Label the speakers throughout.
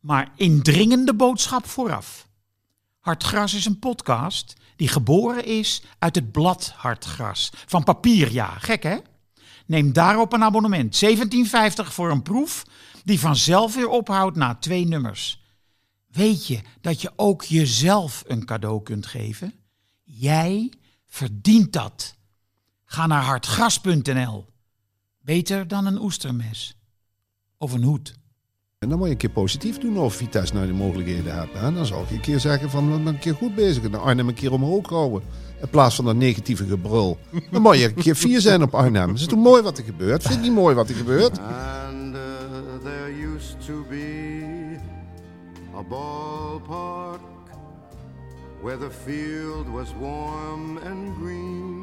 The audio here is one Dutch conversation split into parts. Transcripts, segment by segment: Speaker 1: maar indringende boodschap vooraf. Hartgras is een podcast die geboren is uit het blad Hartgras. Van papier, ja. Gek, hè? Neem daarop een abonnement. 17,50 voor een proef die vanzelf weer ophoudt na twee nummers. Weet je dat je ook jezelf een cadeau kunt geven? Jij verdient dat. Ga naar hartgras.nl. Beter dan een oestermes. Of een hoed.
Speaker 2: En dan moet je een keer positief doen of Vitesse nou de mogelijkheden hebt. Hè? Dan zou ik een keer zeggen van, we zijn een keer goed bezig. En dan Arnhem een keer omhoog houden. In plaats van dat negatieve gebrul. Dan moet je een keer vier zijn op Arnhem. Is het toch mooi wat er gebeurt? Vind je niet mooi wat er gebeurt?
Speaker 3: And uh, there used to be a ballpark where the field was warm and green.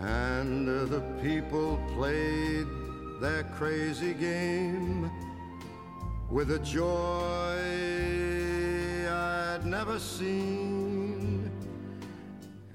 Speaker 3: And uh, the people played their crazy game with a joy I'd never seen.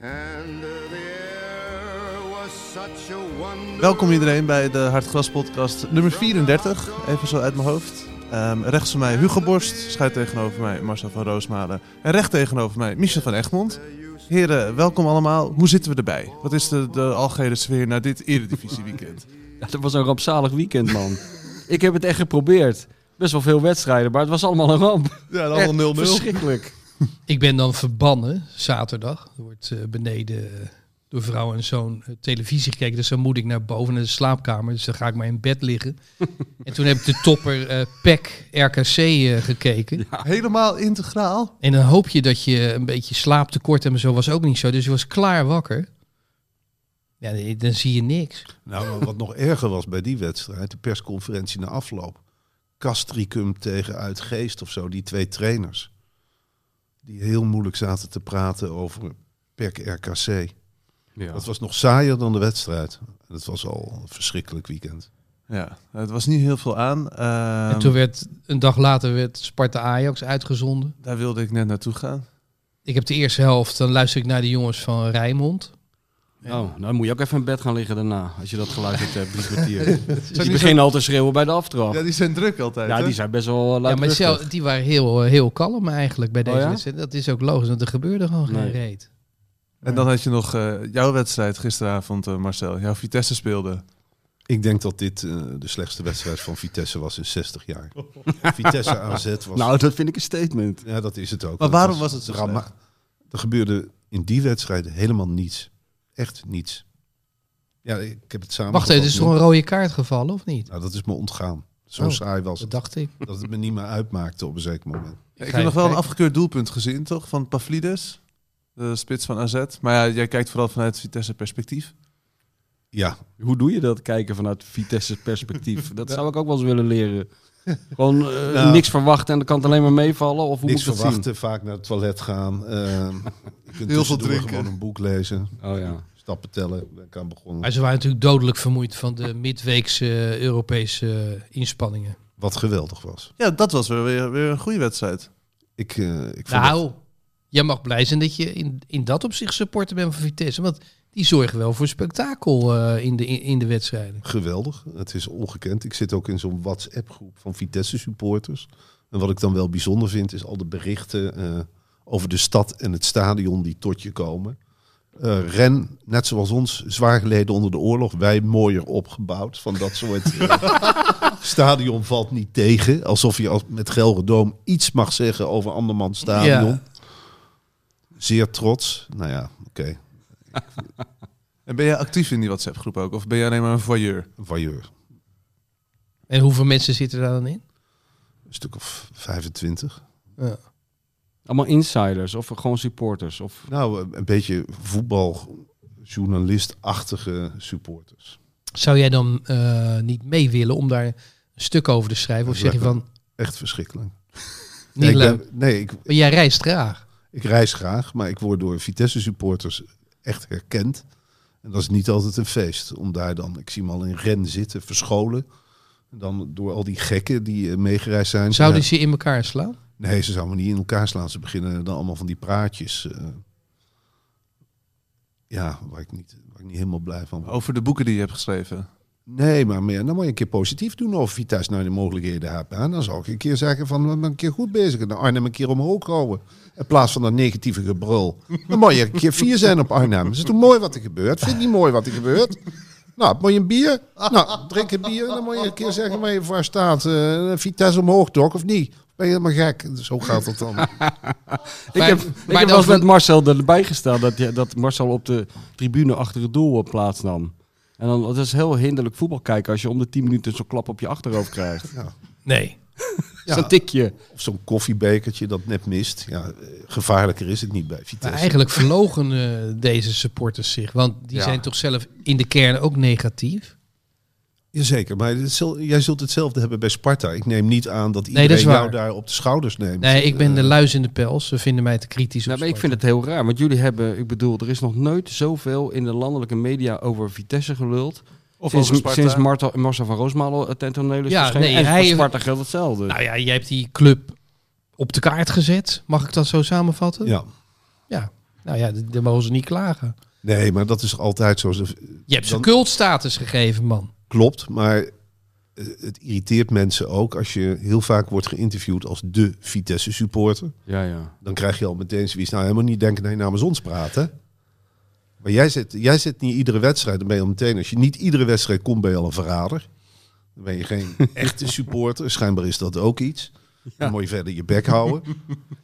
Speaker 3: And uh, the air was such a wonder.
Speaker 4: Welkom iedereen bij de Hartgras podcast nummer 34, even zo uit mijn hoofd. Ehm, rechts van mij Hugo Borst, schuin tegenover mij Marcel van Roosmalen en recht tegenover mij Michel van Egmond. Heren, welkom allemaal. Hoe zitten we erbij? Wat is de, de algehele sfeer na dit Eredivisie weekend?
Speaker 5: Ja, dat was een rampzalig weekend, man. ik heb het echt geprobeerd. Best wel veel wedstrijden, maar het was allemaal een ramp.
Speaker 4: Ja,
Speaker 5: Echt
Speaker 4: allemaal 0-0.
Speaker 5: Verschrikkelijk.
Speaker 6: Ik ben dan verbannen zaterdag. Er wordt eh, beneden eh, door vrouw en zoon eh, televisie gekeken. Dus dan moet ik naar boven naar de slaapkamer. Dus dan ga ik maar in bed liggen. en toen heb ik de topper eh PEC RKC eh, gekeken.
Speaker 4: Helemaal integraal.
Speaker 6: En dan hoop je dat je een beetje slaaptekort hebt. En zo was ook niet zo. Dus je was klaar wakker. Ja, nee, dan zie je niks.
Speaker 2: Nou, wat nog erger was bij die wedstrijd, de persconferentie na afloop. Castricum tegen Uitgeest of zo, die twee trainers. Die heel moeilijk zaten te praten over PEC RKC.
Speaker 4: Ja.
Speaker 2: Dat was nog saaier dan de wedstrijd. Dat was al een verschrikkelijk weekend.
Speaker 4: ja, het was niet heel veel aan. Ehm,
Speaker 6: en toen werd een dag later werd Sparta Ajax uitgezonden.
Speaker 4: Daar wilde ik net naartoe gaan.
Speaker 6: Ik heb de eerste helft. Dan luister ik naar de jongens van Rijnmond.
Speaker 5: Oh, nou moet je ook even in bed gaan liggen daarna, als je dat geluisterd hebt, drie kwartier.
Speaker 4: niet
Speaker 5: Die beginnen al te schreeuwen bij de aftrap.
Speaker 4: Ja, die zijn druk altijd.
Speaker 5: Ja,
Speaker 4: hè?
Speaker 5: die zijn best wel eh,
Speaker 6: Ja, maar
Speaker 5: luidruchtig.
Speaker 6: zelf, die waren heel, eh, heel kalm eigenlijk bij deze
Speaker 5: Oh ja?
Speaker 6: wedstrijd. Dat is ook logisch, want er gebeurde gewoon geen
Speaker 5: Nee.
Speaker 6: reet.
Speaker 4: En dan had je nog eh, jouw wedstrijd gisteravond, eh, Marcel. Jouw Vitesse speelde.
Speaker 2: Ik denk dat dit eh, de slechtste wedstrijd van Vitesse was in 60 jaar. Vitesse AZ was...
Speaker 5: Nou, dat vind ik een statement.
Speaker 2: ja, dat is het ook.
Speaker 4: Maar
Speaker 2: Dat
Speaker 4: waarom was het zo
Speaker 2: drama-
Speaker 4: slecht?
Speaker 2: Er gebeurde in die wedstrijd helemaal niets. Echt niets. Ja, ik heb het samen...
Speaker 6: Wacht even, is er een rode kaart gevallen of niet?
Speaker 2: Nou, dat is me ontgaan. Zo
Speaker 6: Oh,
Speaker 2: saai was
Speaker 6: Dat
Speaker 2: het.
Speaker 6: dacht ik.
Speaker 2: Dat het me niet meer uitmaakte op een zeker moment.
Speaker 6: ga
Speaker 4: Ik
Speaker 6: even
Speaker 4: heb nog wel een
Speaker 6: kijken.
Speaker 4: afgekeurd doelpunt gezien, toch? Van Pavlidis, de spits van AZ. Maar ja, jij kijkt vooral vanuit Vitesse perspectief.
Speaker 2: Ja,
Speaker 5: Hoe doe je dat, kijken vanuit Vitesse perspectief? Dat zou ik ook wel eens willen leren. Gewoon eh,
Speaker 2: Nou.
Speaker 5: niks verwachten en dat kan het alleen maar meevallen? Of hoe
Speaker 2: niks
Speaker 5: moet ik dat zien?
Speaker 2: verwachten. Vaak naar het toilet gaan. ehm, je kunt
Speaker 4: veel
Speaker 2: tussendoor
Speaker 4: drinken.
Speaker 2: Gewoon een boek lezen.
Speaker 5: Oh ja.
Speaker 2: Stappen tellen. Ik ben ik aan begonnen.
Speaker 6: Maar ze waren natuurlijk dodelijk vermoeid van de midweekse eh, Europese eh, inspanningen.
Speaker 2: Wat geweldig was.
Speaker 4: Ja, dat was weer, weer, weer een goede wedstrijd.
Speaker 2: Ik, eh, ik vond het-
Speaker 6: Nou, jij mag blij zijn dat je in, in dat opzicht supporter bent van Vitesse. Want die zorgen wel voor spektakel eh, in, de, in, de wedstrijden.
Speaker 2: Geweldig. Het is ongekend. Ik zit ook in zo'n WhatsApp-groep van Vitesse supporters. En wat ik dan wel bijzonder vind, is al de berichten eh, over de stad en het stadion die tot je komen. eh, Ren, net zoals ons, zwaar geleden onder de oorlog. Wij mooier opgebouwd van dat soort... eh, stadion valt niet tegen. Alsof je als, met Gelredoom iets mag zeggen over andermans stadion.
Speaker 6: Ja.
Speaker 2: Zeer trots. Nou ja, oké.
Speaker 4: En ben jij actief in die WhatsApp-groep ook? Of ben jij alleen maar een voyeur?
Speaker 2: Een Voyeur.
Speaker 6: En hoeveel mensen zitten daar dan in?
Speaker 2: Een stuk of 25.
Speaker 5: Allemaal insiders of gewoon supporters. Of...
Speaker 2: Nou, een beetje voetbaljournalist-achtige supporters.
Speaker 6: Zou jij dan eh, niet mee willen om daar een stuk over te schrijven? Of zeg je van,
Speaker 2: Echt verschrikkelijk.
Speaker 6: niet
Speaker 2: nee,
Speaker 6: leuk.
Speaker 2: Ik ben- nee, ik,
Speaker 6: Maar jij reist graag.
Speaker 2: ik reis graag, maar ik word door Vitesse-supporters echt herkend. En dat is niet altijd een feest. Om daar dan, ik zie hem al in ren zitten, verscholen. En dan door al die gekken die eh, meegereisd zijn.
Speaker 6: Zouden
Speaker 2: Ja.
Speaker 6: ze je in elkaar slaan?
Speaker 2: Nee, ze zouden me niet in elkaar slaan. Ze beginnen dan allemaal van die praatjes. eh, ja, waar ik, niet, waar ik niet helemaal blij van word.
Speaker 4: Over de boeken die je hebt geschreven.
Speaker 2: Nee, maar meer, dan moet je een keer positief doen over Vitesse naar de mogelijkheden hebben. En dan zal ik een keer zeggen van, we zijn een keer goed bezig. En dan Arnhem een keer omhoog houden. In plaats van dat negatieve gebrul. Dan moet je een keer vier zijn op Arnhem. Is het toch mooi wat er gebeurt? Vind je niet mooi wat er gebeurt? Nou, moet je een bier? Nou, drink een bier en dan moet je een keer zeggen waar je voor staat. Eh, Vitesse omhoog toch, of niet? Ben je helemaal gek? Zo gaat dat dan.
Speaker 6: Maar-
Speaker 5: ik heb,
Speaker 6: maar
Speaker 5: ik heb wel
Speaker 6: dan-
Speaker 5: eens met Marcel erbij gestaan dat, je- dat Marcel op de tribune achter het doel eh, plaats nam. En dan, dat is heel hinderlijk voetbal kijken als je om de 10 minuten zo'n klap op je achterhoofd krijgt.
Speaker 6: Nee.
Speaker 2: Ja.
Speaker 5: Zo'n tikje.
Speaker 2: Of zo'n koffiebekertje dat net mist. Ja, eh, gevaarlijker is het niet bij
Speaker 6: Maar
Speaker 2: Vitesse.
Speaker 6: eigenlijk verlogen eh, deze supporters zich. Want die
Speaker 2: Ja.
Speaker 6: zijn toch zelf in de kern ook negatief?
Speaker 2: Jazeker, maar dit zul- jij zult hetzelfde hebben bij Sparta. Ik neem niet aan dat
Speaker 6: dat
Speaker 2: iedereen
Speaker 6: is waar.
Speaker 2: jou daar op de schouders neemt.
Speaker 6: Nee, ik ben de luis in de pels. Ze vinden mij te kritisch.
Speaker 5: Nou,
Speaker 6: op
Speaker 5: maar ik vind het
Speaker 6: sport.
Speaker 5: heel raar, want jullie hebben, ik bedoel, er is nog nooit zoveel in de landelijke media over Vitesse geluld.
Speaker 4: Of
Speaker 5: sinds
Speaker 4: over Sparta.
Speaker 5: sinds Marta- Marcel van Roosmalen het tentoneel is
Speaker 6: Ja,
Speaker 5: verschenen.
Speaker 6: nee,
Speaker 5: en
Speaker 6: hij-
Speaker 5: voor Sparta geldt hetzelfde.
Speaker 6: Nou ja, jij hebt die club op de kaart gezet. Mag ik dat zo samenvatten?
Speaker 2: Ja.
Speaker 6: Ja. Nou ja, d- dan mogen ze niet klagen.
Speaker 2: Nee, maar dat is altijd zo. Ze-
Speaker 6: Je hebt ze
Speaker 2: Dan-
Speaker 6: cultstatus gegeven, man.
Speaker 2: Klopt, maar eh, het irriteert mensen ook als je heel vaak wordt geïnterviewd als de Vitesse supporter.
Speaker 5: Ja, ja.
Speaker 2: Dan krijg je al meteen zoiets. Nou, helemaal niet denken dat je namens ons praat, hè? Maar jij zit, jij zit niet iedere wedstrijd, dan ben je al meteen. Als je niet iedere wedstrijd komt, ben je al een verrader. Dan ben je geen echte supporter. Schijnbaar is dat ook iets. Dan moet je verder je bek houden.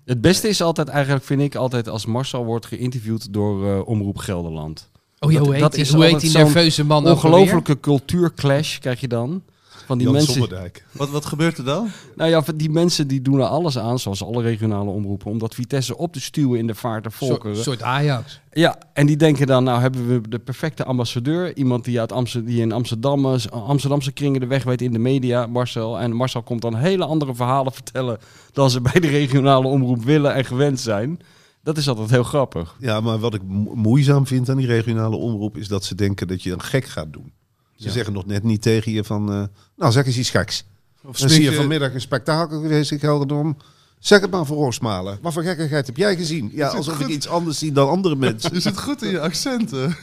Speaker 5: Het beste is altijd eigenlijk, vind ik, altijd als Marcel wordt geïnterviewd door eh, Omroep Gelderland.
Speaker 6: Oh ja,
Speaker 5: Dat-
Speaker 6: hoe heet
Speaker 5: dat
Speaker 6: die,
Speaker 5: is
Speaker 6: hoe heet
Speaker 5: altijd
Speaker 6: die
Speaker 5: zo'n
Speaker 6: nerveuze man ook alweer?
Speaker 5: Ongelofelijke cultuurclash krijg je dan. Van die
Speaker 2: Jan
Speaker 5: mensen.
Speaker 2: Sommerdijk.
Speaker 4: Wat, wat gebeurt er dan?
Speaker 5: Nou ja, van die mensen die doen er alles aan, zoals alle regionale omroepen, om dat Vitesse op te stuwen in de vaart der
Speaker 6: Een
Speaker 5: volkeren.
Speaker 6: soort Ajax.
Speaker 5: Ja, en die denken dan, nou hebben we de perfecte ambassadeur. Iemand die, uit Amster- die in Amsterdam, is, eh, Amsterdamse kringen de weg weet in de media, Marcel. En Marcel komt dan hele andere verhalen vertellen dan ze bij de regionale omroep willen en gewend zijn. Dat is altijd heel grappig.
Speaker 2: Ja, maar wat ik mo- moeizaam vind aan die regionale omroep is dat ze denken dat je een gek gaat doen. Ze
Speaker 5: Ja.
Speaker 2: zeggen nog net niet tegen je van, eh, nou zeg eens iets geks.
Speaker 4: Of
Speaker 2: Dan zie je
Speaker 4: spring je-
Speaker 2: vanmiddag een spektakel geweest in Gelderdom. Zeg het maar voor Roosmalen. Wat voor gekkigheid heb jij gezien? Ja,
Speaker 4: het
Speaker 2: alsof ik
Speaker 4: goed?
Speaker 2: iets anders zie dan andere mensen.
Speaker 4: Je zit goed in je accenten,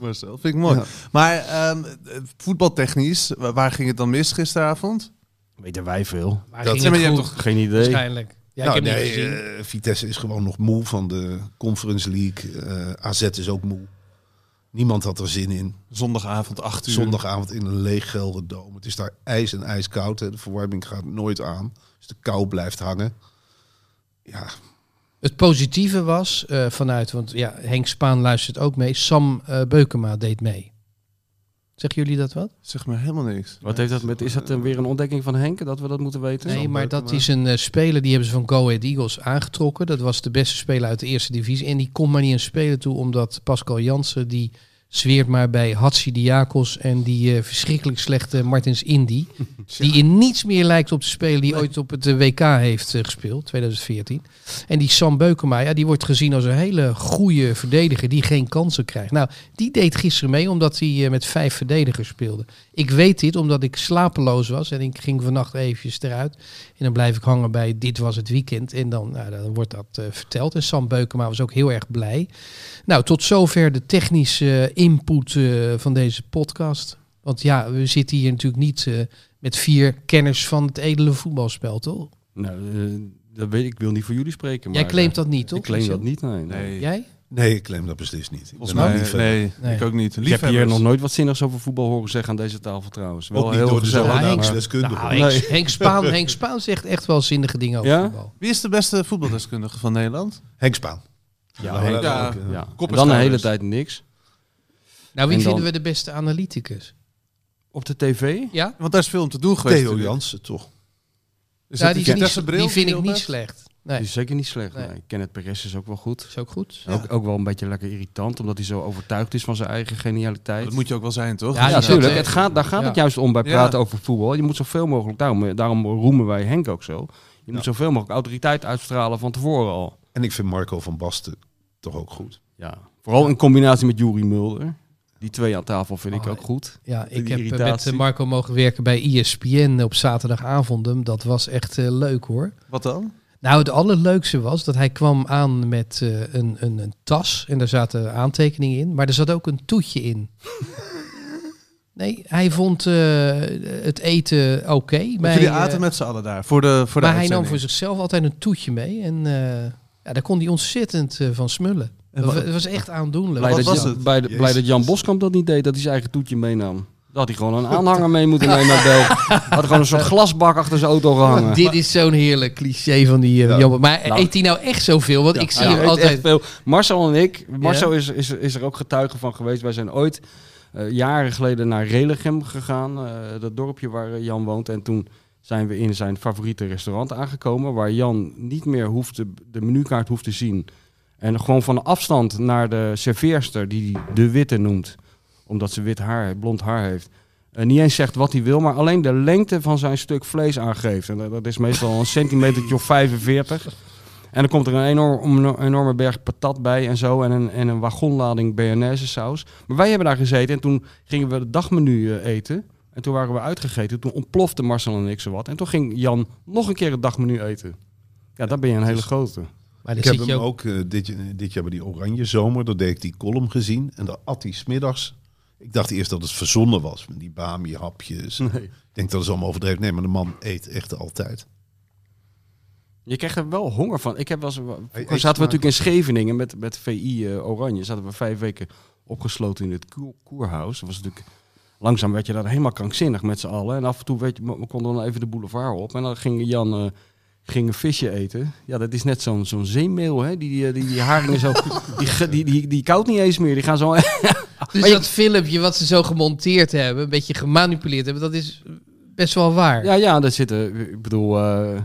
Speaker 4: Marcel. Vind ik mooi. Maar ehm, voetbaltechnisch, wa- waar ging het dan mis gisteravond?
Speaker 5: Weten wij veel?
Speaker 6: Maar
Speaker 2: Dat-
Speaker 6: ging
Speaker 4: Ja, maar
Speaker 6: het
Speaker 4: je hebt
Speaker 6: goed,
Speaker 4: toch-
Speaker 5: Geen idee.
Speaker 6: waarschijnlijk. Ja,
Speaker 2: nou,
Speaker 6: ik heb
Speaker 2: nee,
Speaker 6: niet gezien.
Speaker 2: eh, Vitesse is gewoon nog moe van de Conference League. Eh, AZ is ook moe. Niemand had er zin in.
Speaker 4: Zondagavond, 8 uur.
Speaker 2: Zondagavond in een leeg Gelderdoom. Het is daar ijs en ijskoud. Hè. De verwarming gaat nooit aan. Dus de kou blijft hangen. Ja,
Speaker 6: Het positieve was eh, vanuit, want ja, Henk Spaan luistert ook mee. Sam eh, Beukema deed mee. Zeggen jullie dat wat?
Speaker 4: Zeg maar helemaal niks.
Speaker 5: Wat heeft dat met, is dat eh, weer een ontdekking van Henk, dat we dat moeten weten?
Speaker 6: Nee, maar dat
Speaker 4: Beukema.
Speaker 6: is een eh, speler die hebben ze van Go Ahead Eagles aangetrokken. Dat was de beste speler uit de eerste divisie. En die komt maar niet aan spelen toe, omdat Pascal Jansen die zweert maar bij Hatsi Diakos en die eh, verschrikkelijk slechte Martins Indy. Die in niets meer lijkt op de speler die ooit op het eh, WK heeft eh, gespeeld, 2014. En die Sam Beukema, ja, die wordt gezien als een hele goede verdediger die geen kansen krijgt. Nou, die deed gisteren mee omdat hij eh, met vijf verdedigers speelde. Ik weet dit omdat ik slapeloos was en ik ging vannacht eventjes eruit. En dan blijf ik hangen bij dit was het weekend. En dan, nou, dan wordt dat eh, verteld. En Sam Beukema was ook heel erg blij. Nou, tot zover de technische input eh, van deze podcast. Want ja, we zitten hier natuurlijk niet eh, met vier kenners van het edele voetbalspel, toch?
Speaker 5: Nou, eh, dat weet, ik wil niet voor jullie spreken.
Speaker 6: Jij
Speaker 5: maar,
Speaker 6: claimt
Speaker 5: eh,
Speaker 6: dat niet, toch?
Speaker 5: Ik claim dat
Speaker 6: Marcel?
Speaker 5: niet, nee. nee.
Speaker 4: Nee.
Speaker 6: Jij?
Speaker 2: Nee, ik claim dat beslist niet. Ik
Speaker 4: Volgens
Speaker 2: ben ook
Speaker 4: mij,
Speaker 2: niet fan.
Speaker 4: nee,
Speaker 6: Nee.
Speaker 4: ik ook niet.
Speaker 5: Ik heb hier
Speaker 4: Liefhebbers.
Speaker 5: nog nooit wat zinnigs over voetbal horen zeggen aan deze tafel trouwens. Wel
Speaker 2: Ook niet
Speaker 5: heel
Speaker 2: door
Speaker 5: gezellig.
Speaker 2: dezelfde
Speaker 6: Ja, Henk-
Speaker 2: deskundige.
Speaker 6: Nou, Henk, Henk Spaan, Henk Spaan zegt echt wel zinnige dingen over
Speaker 5: Ja?
Speaker 6: voetbal.
Speaker 4: Wie is de beste voetbaldeskundige van Nederland?
Speaker 2: Henk Spaan.
Speaker 5: Ja,
Speaker 2: Nou,
Speaker 5: Henk,
Speaker 2: dat-
Speaker 4: ja.
Speaker 2: ook, eh,
Speaker 5: ja.
Speaker 4: Kop en
Speaker 5: En dan de hele
Speaker 4: schouders.
Speaker 5: tijd niks.
Speaker 6: Nou, wie
Speaker 5: En dan-
Speaker 6: vinden we de beste analyticus?
Speaker 5: Op de tv?
Speaker 6: Ja?
Speaker 4: Want daar is veel om te doen geweest.
Speaker 2: Theo
Speaker 4: natuurlijk.
Speaker 2: Jansen, toch?
Speaker 4: Is dat
Speaker 6: Nou, die,
Speaker 4: die
Speaker 6: is niet-
Speaker 4: Vitesse bril
Speaker 6: die
Speaker 4: die
Speaker 6: vind
Speaker 4: je
Speaker 6: ik
Speaker 4: op
Speaker 6: niet
Speaker 4: hebt?
Speaker 6: slecht.
Speaker 5: Die
Speaker 6: Nee,
Speaker 5: is zeker niet slecht.
Speaker 6: Nee.
Speaker 5: Nee. Kenneth Perez is ook wel goed.
Speaker 6: is ook goed.
Speaker 5: Ook, ook wel een beetje lekker irritant, omdat hij zo overtuigd is van zijn eigen genialiteit.
Speaker 4: Dat moet je ook wel zijn, toch?
Speaker 6: Ja,
Speaker 5: ja,
Speaker 6: dat-
Speaker 5: natuurlijk.
Speaker 6: eh,
Speaker 5: Het gaat, daar gaat
Speaker 6: ja.
Speaker 5: het juist om bij
Speaker 4: Ja.
Speaker 5: praten over voetbal. Je moet zoveel mogelijk, daarom, eh, daarom roemen wij Henk ook zo. Je moet zoveel mogelijk autoriteit uitstralen van tevoren al.
Speaker 2: En ik vind Marco van Basten toch ook goed.
Speaker 5: Ja. Vooral in combinatie met Juri Mulder. Die twee aan tafel vind ik
Speaker 6: Oh,
Speaker 5: ook goed.
Speaker 6: Ja, ik
Speaker 5: Die
Speaker 6: heb eh, met
Speaker 5: irritatie.
Speaker 6: eh, Marco mogen werken bij E ESPN op zaterdagavonden. Dat was echt eh, leuk hoor.
Speaker 4: Wat dan?
Speaker 6: Nou, het allerleukste was dat hij kwam aan met eh, een, een, een tas en daar zaten aantekeningen in, maar er zat ook een toetje in. Nee, hij vond eh, het eten oké. bij,
Speaker 4: Want jullie
Speaker 6: eh,
Speaker 4: aten met z'n allen daar. Voor de, voor de
Speaker 6: maar hij nam
Speaker 4: uitzending.
Speaker 6: voor zichzelf altijd een toetje mee en eh, ja, daar kon hij ontzettend eh, van smullen.
Speaker 4: En
Speaker 6: Dat
Speaker 4: wa-
Speaker 6: wa- dat was echt aandoenlijk.
Speaker 5: Blij
Speaker 4: Wat
Speaker 5: dat,
Speaker 4: was
Speaker 5: Jan-
Speaker 4: het?
Speaker 5: Bij de, blij
Speaker 2: Jezus.
Speaker 5: dat Jan Boskamp dat niet deed, dat hij zijn eigen toetje meenam. Dat had hij gewoon een aanhanger mee moeten nemen. naar België. Had gewoon een soort glasbak achter zijn auto gehangen.
Speaker 6: Dit is zo'n heerlijk cliché van die eh,
Speaker 2: Ja.
Speaker 6: Jan- Maar
Speaker 5: eh, Nou.
Speaker 6: eet hij nou echt zoveel? Want ik zie
Speaker 5: Ja,
Speaker 6: hem
Speaker 5: eet
Speaker 6: altijd...
Speaker 5: echt veel. Marcel en ik, Marcel is, is, is er ook getuige van geweest. Wij zijn ooit eh, jaren geleden naar Relichem gegaan, eh, dat dorpje waar eh, Jan woont. En toen zijn we in zijn favoriete restaurant aangekomen, waar Jan niet meer hoefde, de menukaart hoeft te zien. En gewoon van afstand naar de serveerster, die hij de witte noemt, omdat ze wit haar, blond haar heeft. En niet eens zegt wat hij wil, maar alleen de lengte van zijn stuk vlees aangeeft. En dat- dat is meestal een centimetertje of 45. En dan komt er een enorm, een enorme berg patat bij en zo. En een, en een wagonlading bearnaise saus. Maar wij hebben daar gezeten en toen gingen we het dagmenu eh, eten. En toen waren we uitgegeten. Toen ontplofte Marcel en ik zo wat. En toen ging Jan nog een keer het dagmenu eten. Ja, daar ben je een hele grote.
Speaker 6: Maar
Speaker 2: Ik
Speaker 6: dan
Speaker 2: heb
Speaker 6: zit je
Speaker 2: hem
Speaker 6: ook...
Speaker 2: ook eh, dit, dit jaar bij die Oranje Zomer, daar deed ik die column gezien. En daar at hij smiddags. Ik dacht eerst dat het verzonnen was, met die bami-hapjes. Ik denk dat is allemaal overdreven. Nee, maar de man eet echt altijd.
Speaker 5: Je krijgt er wel honger van. Ik heb wel eens, vroeger
Speaker 2: eet
Speaker 5: zaten we
Speaker 2: maar.
Speaker 5: natuurlijk in Scheveningen met, met VI eh, Oranje. Zaten we vijf weken opgesloten in het koer- koerhuis. Dat was natuurlijk... Langzaam werd je daar helemaal krankzinnig met z'n allen. En af en toe werd je, we konden dan even de boulevard op. En dan ging Jan eh, ging een visje eten. Ja, dat is net zo'n zo'n zeemeel, hè? Die, eh, die, die, die haringen zo... Die, ge- die, die, die koud niet eens meer. Die gaan zo...
Speaker 6: Dus
Speaker 5: Maar je-
Speaker 6: dat filmpje wat ze zo gemonteerd hebben, een beetje gemanipuleerd hebben, dat is best wel waar.
Speaker 5: Ja, ja, daar zitten... Ik bedoel, eh,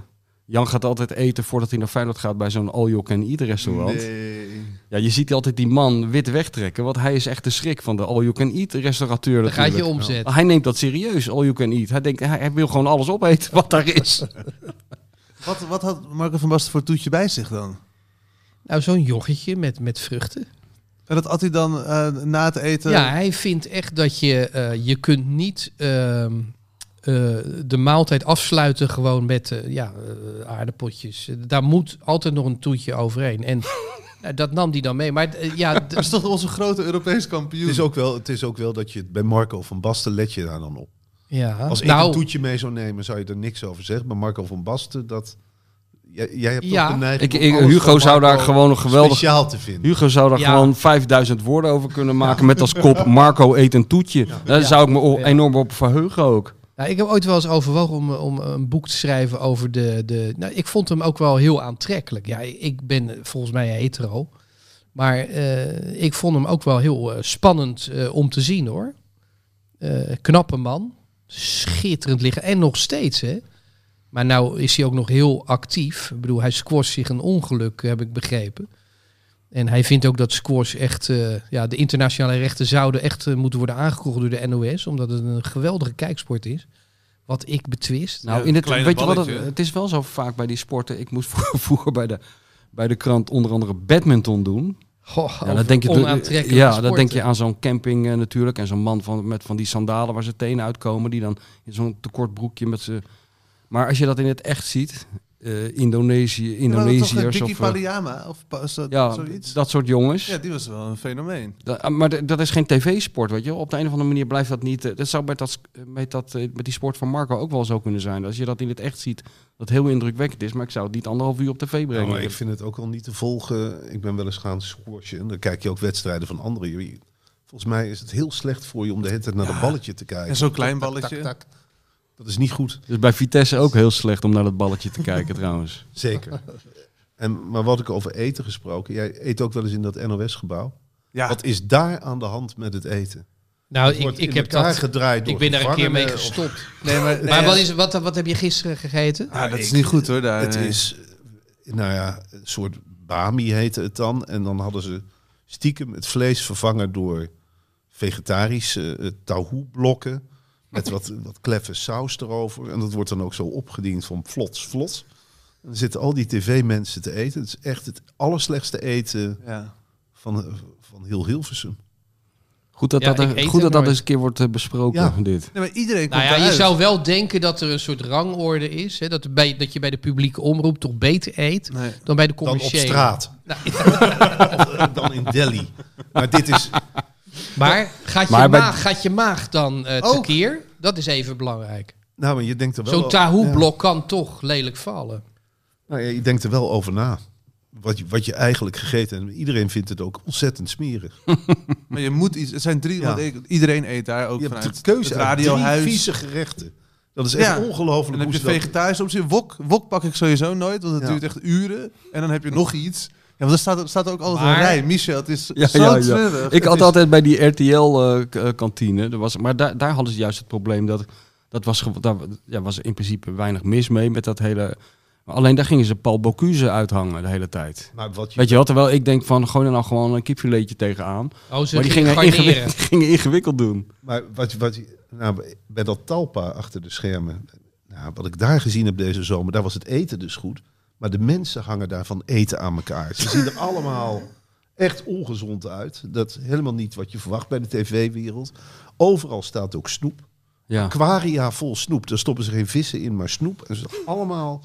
Speaker 5: Jan gaat altijd eten voordat hij naar Feyenoord gaat... bij zo'n all-you-can-eat restaurant.
Speaker 3: Nee.
Speaker 5: Ja, je ziet altijd die man wit wegtrekken, want hij is echt de schrik van de all-you-can-eat restaurateur
Speaker 6: Dan gaat je
Speaker 5: natuurlijk.
Speaker 6: omzet.
Speaker 5: Hij neemt dat serieus, all-you-can-eat. Hij denkt, hij, hij wil gewoon alles opeten wat daar Ah, is.
Speaker 4: Wat, wat had Marco van Basten voor toetje bij zich dan?
Speaker 6: Nou, zo'n joggetje met, met vruchten.
Speaker 4: En dat at hij dan eh, na het eten...
Speaker 6: Ja, hij vindt echt dat je, eh, je kunt niet ehm, eh, de maaltijd afsluiten gewoon met eh, ja, eh, aardappotjes. Daar moet altijd nog een toetje overheen. En nou, dat nam hij dan mee. Maar eh, ja, d-
Speaker 4: Dat is toch onze grote Europees kampioen?
Speaker 2: Het is, ook wel, het is ook wel dat je het bij Marco van Basten let je daar dan op.
Speaker 6: ja.
Speaker 2: Als ik
Speaker 6: nou,
Speaker 2: een toetje mee zou nemen, zou je er niks over zeggen. Maar Marco van Basten, dat... Jij, jij hebt
Speaker 6: Ja.
Speaker 2: toch de neiging
Speaker 5: Ik,
Speaker 2: om
Speaker 5: ik-
Speaker 2: alles
Speaker 5: Hugo
Speaker 2: van
Speaker 5: zou daar
Speaker 2: Marco
Speaker 5: gewoon een geweldig...
Speaker 2: speciaal te vinden.
Speaker 5: Hugo zou daar
Speaker 6: Ja.
Speaker 5: gewoon 5000 woorden over kunnen maken met als kop Marco eet een toetje. Daar zou ik me o-
Speaker 6: Ja.
Speaker 5: enorm op verheugen ook.
Speaker 6: Nou, ik heb ooit wel eens overwogen om, om een boek te schrijven over de... de nou, ik vond hem ook wel heel aantrekkelijk. Ja, ik ben volgens mij hetero. Maar eh, ik vond hem ook wel heel eh, spannend eh, om te zien, hoor. Eh, knappe man. Schitterend liggen. En nog steeds, hè. Maar nou is hij ook nog heel actief. Ik bedoel, hij squasht zich een ongeluk, heb ik begrepen. En hij vindt ook dat squash echt... eh, ja, de internationale rechten zouden echt eh, moeten worden aangekocht door de NOS. Omdat het een geweldige kijksport is. Wat ik betwist.
Speaker 5: Nou,
Speaker 4: Ja,
Speaker 5: in het,
Speaker 4: kleine
Speaker 5: weet je wat, het,
Speaker 4: balletje.
Speaker 5: het is wel zo vaak bij die sporten. Ik moest vroeger bij de, bij de krant onder andere badminton doen.
Speaker 6: Goh,
Speaker 5: Ja,
Speaker 6: over
Speaker 5: dat denk je,
Speaker 6: onaantrekkelijke
Speaker 5: ja, dat
Speaker 6: sporten.
Speaker 5: denk je aan zo'n camping eh, natuurlijk. En zo'n man van, met van die sandalen waar zijn tenen uitkomen. Die dan in zo'n tekort broekje met ze. Maar als je dat in het echt ziet. eh, eh, Indonesië, Indonesiërs
Speaker 4: Dikkie
Speaker 5: of eh,
Speaker 4: Paliyama of pa- zo-
Speaker 5: ja,
Speaker 4: zoiets.
Speaker 5: dat soort jongens.
Speaker 4: Ja, die was wel een fenomeen.
Speaker 5: Da- ah, maar d- dat is geen tv-sport, weet je wel. Op de een of andere manier blijft dat niet... eh, Dat zou met, dat, s- met, dat, eh, met die sport van Marco ook wel zo kunnen zijn. Als je dat in het echt ziet, dat heel indrukwekkend is. Maar ik zou het niet anderhalf uur op tv
Speaker 2: Ja,
Speaker 5: brengen.
Speaker 2: maar ik vind het ook al niet te volgen. Ik ben wel eens gaan squashen. En dan kijk je ook wedstrijden van anderen. Je- Volgens mij is het heel slecht voor je om de hele tijd naar
Speaker 4: Ja.
Speaker 2: dat balletje te kijken.
Speaker 4: En zo'n klein
Speaker 2: Tak, tak,
Speaker 4: balletje.
Speaker 2: tak. Dat is niet goed,
Speaker 5: Dus bij Vitesse ook heel slecht om naar dat balletje te kijken trouwens.
Speaker 2: zeker. En, maar wat ik over eten gesproken. Jij eet ook wel eens in dat NOS-gebouw.
Speaker 4: Ja,
Speaker 2: Wat is daar aan de hand met het eten?
Speaker 6: Nou,
Speaker 2: Het wordt
Speaker 6: ik, ik
Speaker 2: in
Speaker 6: heb
Speaker 2: elkaar
Speaker 6: dat...
Speaker 2: gedraaid door
Speaker 6: Ik ben daar een keer mee
Speaker 2: gevangenen of-
Speaker 6: gestopt.
Speaker 4: nee, maar, nee,
Speaker 6: Maar
Speaker 4: ja.
Speaker 6: wat, is, wat, wat heb je gisteren gegeten?
Speaker 4: Ah, dat is
Speaker 2: Ik-
Speaker 4: niet goed hoor. Daar,
Speaker 2: Het
Speaker 4: nee.
Speaker 2: is, eh, nou ja, een soort bami heette het dan. En dan hadden ze stiekem het vlees vervangen door vegetarische eh blokken Met wat, wat kleffe saus erover. En dat wordt dan ook zo opgediend van vlots, vlots. En dan zitten al die tv-mensen te eten. Het is echt het allerslechtste eten
Speaker 4: Ja.
Speaker 2: van, eh, van heel Hilversum.
Speaker 5: Goed dat
Speaker 6: Ja,
Speaker 5: dat,
Speaker 6: ik eet
Speaker 5: goed dat,
Speaker 6: er
Speaker 5: dat
Speaker 6: nooit.
Speaker 5: eens een keer wordt eh, besproken,
Speaker 2: Ja.
Speaker 5: dit.
Speaker 4: Nee, maar iedereen
Speaker 6: Nou
Speaker 4: komt
Speaker 6: ja, je
Speaker 4: eruit.
Speaker 6: zou wel denken dat er een soort rangorde is. Hè, dat, er bij, dat je bij de publieke omroep toch beter eet
Speaker 4: Nee.
Speaker 6: dan bij de
Speaker 2: Dan op
Speaker 6: commerciële. Nou,
Speaker 2: straat. Of, eh, dan in Delhi. Maar dit is,
Speaker 6: Maar, gaat je,
Speaker 5: Maar bij-
Speaker 6: maag, gaat je maag dan eh
Speaker 4: Ook.
Speaker 6: tekeer? Dat is even belangrijk.
Speaker 2: nou, maar je denkt er wel
Speaker 6: Zo'n
Speaker 2: al-
Speaker 6: tahoe-blok kan toch lelijk vallen.
Speaker 2: Nou ja, je denkt er wel over na. Wat je, wat je eigenlijk gegeten hebt. Iedereen vindt het ook ontzettend smerig.
Speaker 4: Maar je moet iets. Het zijn drie.
Speaker 2: Ja.
Speaker 4: Want ik- iedereen eet daar ook
Speaker 2: je
Speaker 4: vanuit.
Speaker 2: hebt de keuze
Speaker 4: het
Speaker 2: uit drie
Speaker 4: radiohuis.
Speaker 2: vieze gerechten. Dat is echt
Speaker 4: Ja. En
Speaker 2: ongelooflijk.
Speaker 4: dan heb je
Speaker 2: hoe ze dat-
Speaker 4: vegetarische optie. Wok, wok pak ik sowieso nooit, want het
Speaker 2: Ja.
Speaker 4: duurt echt uren. En dan heb je nog iets. Ja, want er staat, staat ook altijd
Speaker 6: Maar-
Speaker 4: een rij. Michel, het is
Speaker 5: Ja,
Speaker 4: zo
Speaker 5: ja, ja.
Speaker 4: treurig.
Speaker 5: Ik
Speaker 4: Het
Speaker 5: had
Speaker 4: is-
Speaker 5: altijd bij die eh, RTL-kantine, was, maar daar, daar hadden ze juist het probleem dat, dat was, ge- daar ja, was in principe weinig mis mee met dat hele... maar Alleen daar gingen ze Paul Bocuse uithangen de hele tijd.
Speaker 2: Maar wat je,
Speaker 5: Weet je wat, terwijl ik denk van, gooi er nou gewoon een kipfiletje tegenaan.
Speaker 6: Oh, ze
Speaker 5: maar die
Speaker 6: gingen
Speaker 5: gingen,
Speaker 6: garneren.
Speaker 5: ingewikkeld, die gingen ingewikkeld doen.
Speaker 2: maar wat, je- wat, je- nou, bij dat talpa achter de schermen. Nou, wat ik daar gezien heb deze zomer. Daar was het eten dus goed. Maar de mensen hangen daar van eten aan elkaar. Ze zien er allemaal echt ongezond uit. Dat is helemaal niet wat je verwacht bij de tv-wereld. Overal staat ook snoep.
Speaker 5: Ja.
Speaker 2: aquaria vol snoep. Daar stoppen ze geen vissen in, maar snoep. En ze allemaal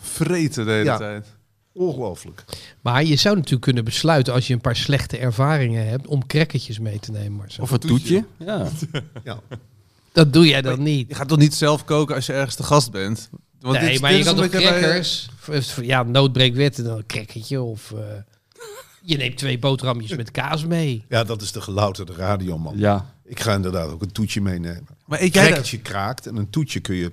Speaker 4: vreten de hele
Speaker 2: Ja.
Speaker 4: tijd.
Speaker 2: ongelooflijk.
Speaker 6: Maar je zou natuurlijk kunnen besluiten, als je een paar slechte ervaringen hebt, om crackertjes mee te nemen, Marcel.
Speaker 5: Of een toetje. Ja.
Speaker 2: Ja.
Speaker 6: dat doe jij dan
Speaker 4: Je
Speaker 6: niet.
Speaker 4: gaat toch niet zelf koken als je ergens te gast bent? Want
Speaker 6: nee,
Speaker 4: dit-
Speaker 6: maar
Speaker 4: dit
Speaker 6: je
Speaker 4: is
Speaker 6: kan toch
Speaker 4: een beetje bij-
Speaker 6: crackers... v- Ja, noodbreekwetten, dan een crackertje of... eh, je neemt twee boterhammetjes met kaas mee.
Speaker 2: ja, dat is de gelouterde radioman.
Speaker 5: ja.
Speaker 2: Ik ga inderdaad ook een toetje meenemen.
Speaker 4: Maar eet jij, daar,
Speaker 2: Krekkertje kraakt en een toetje kun je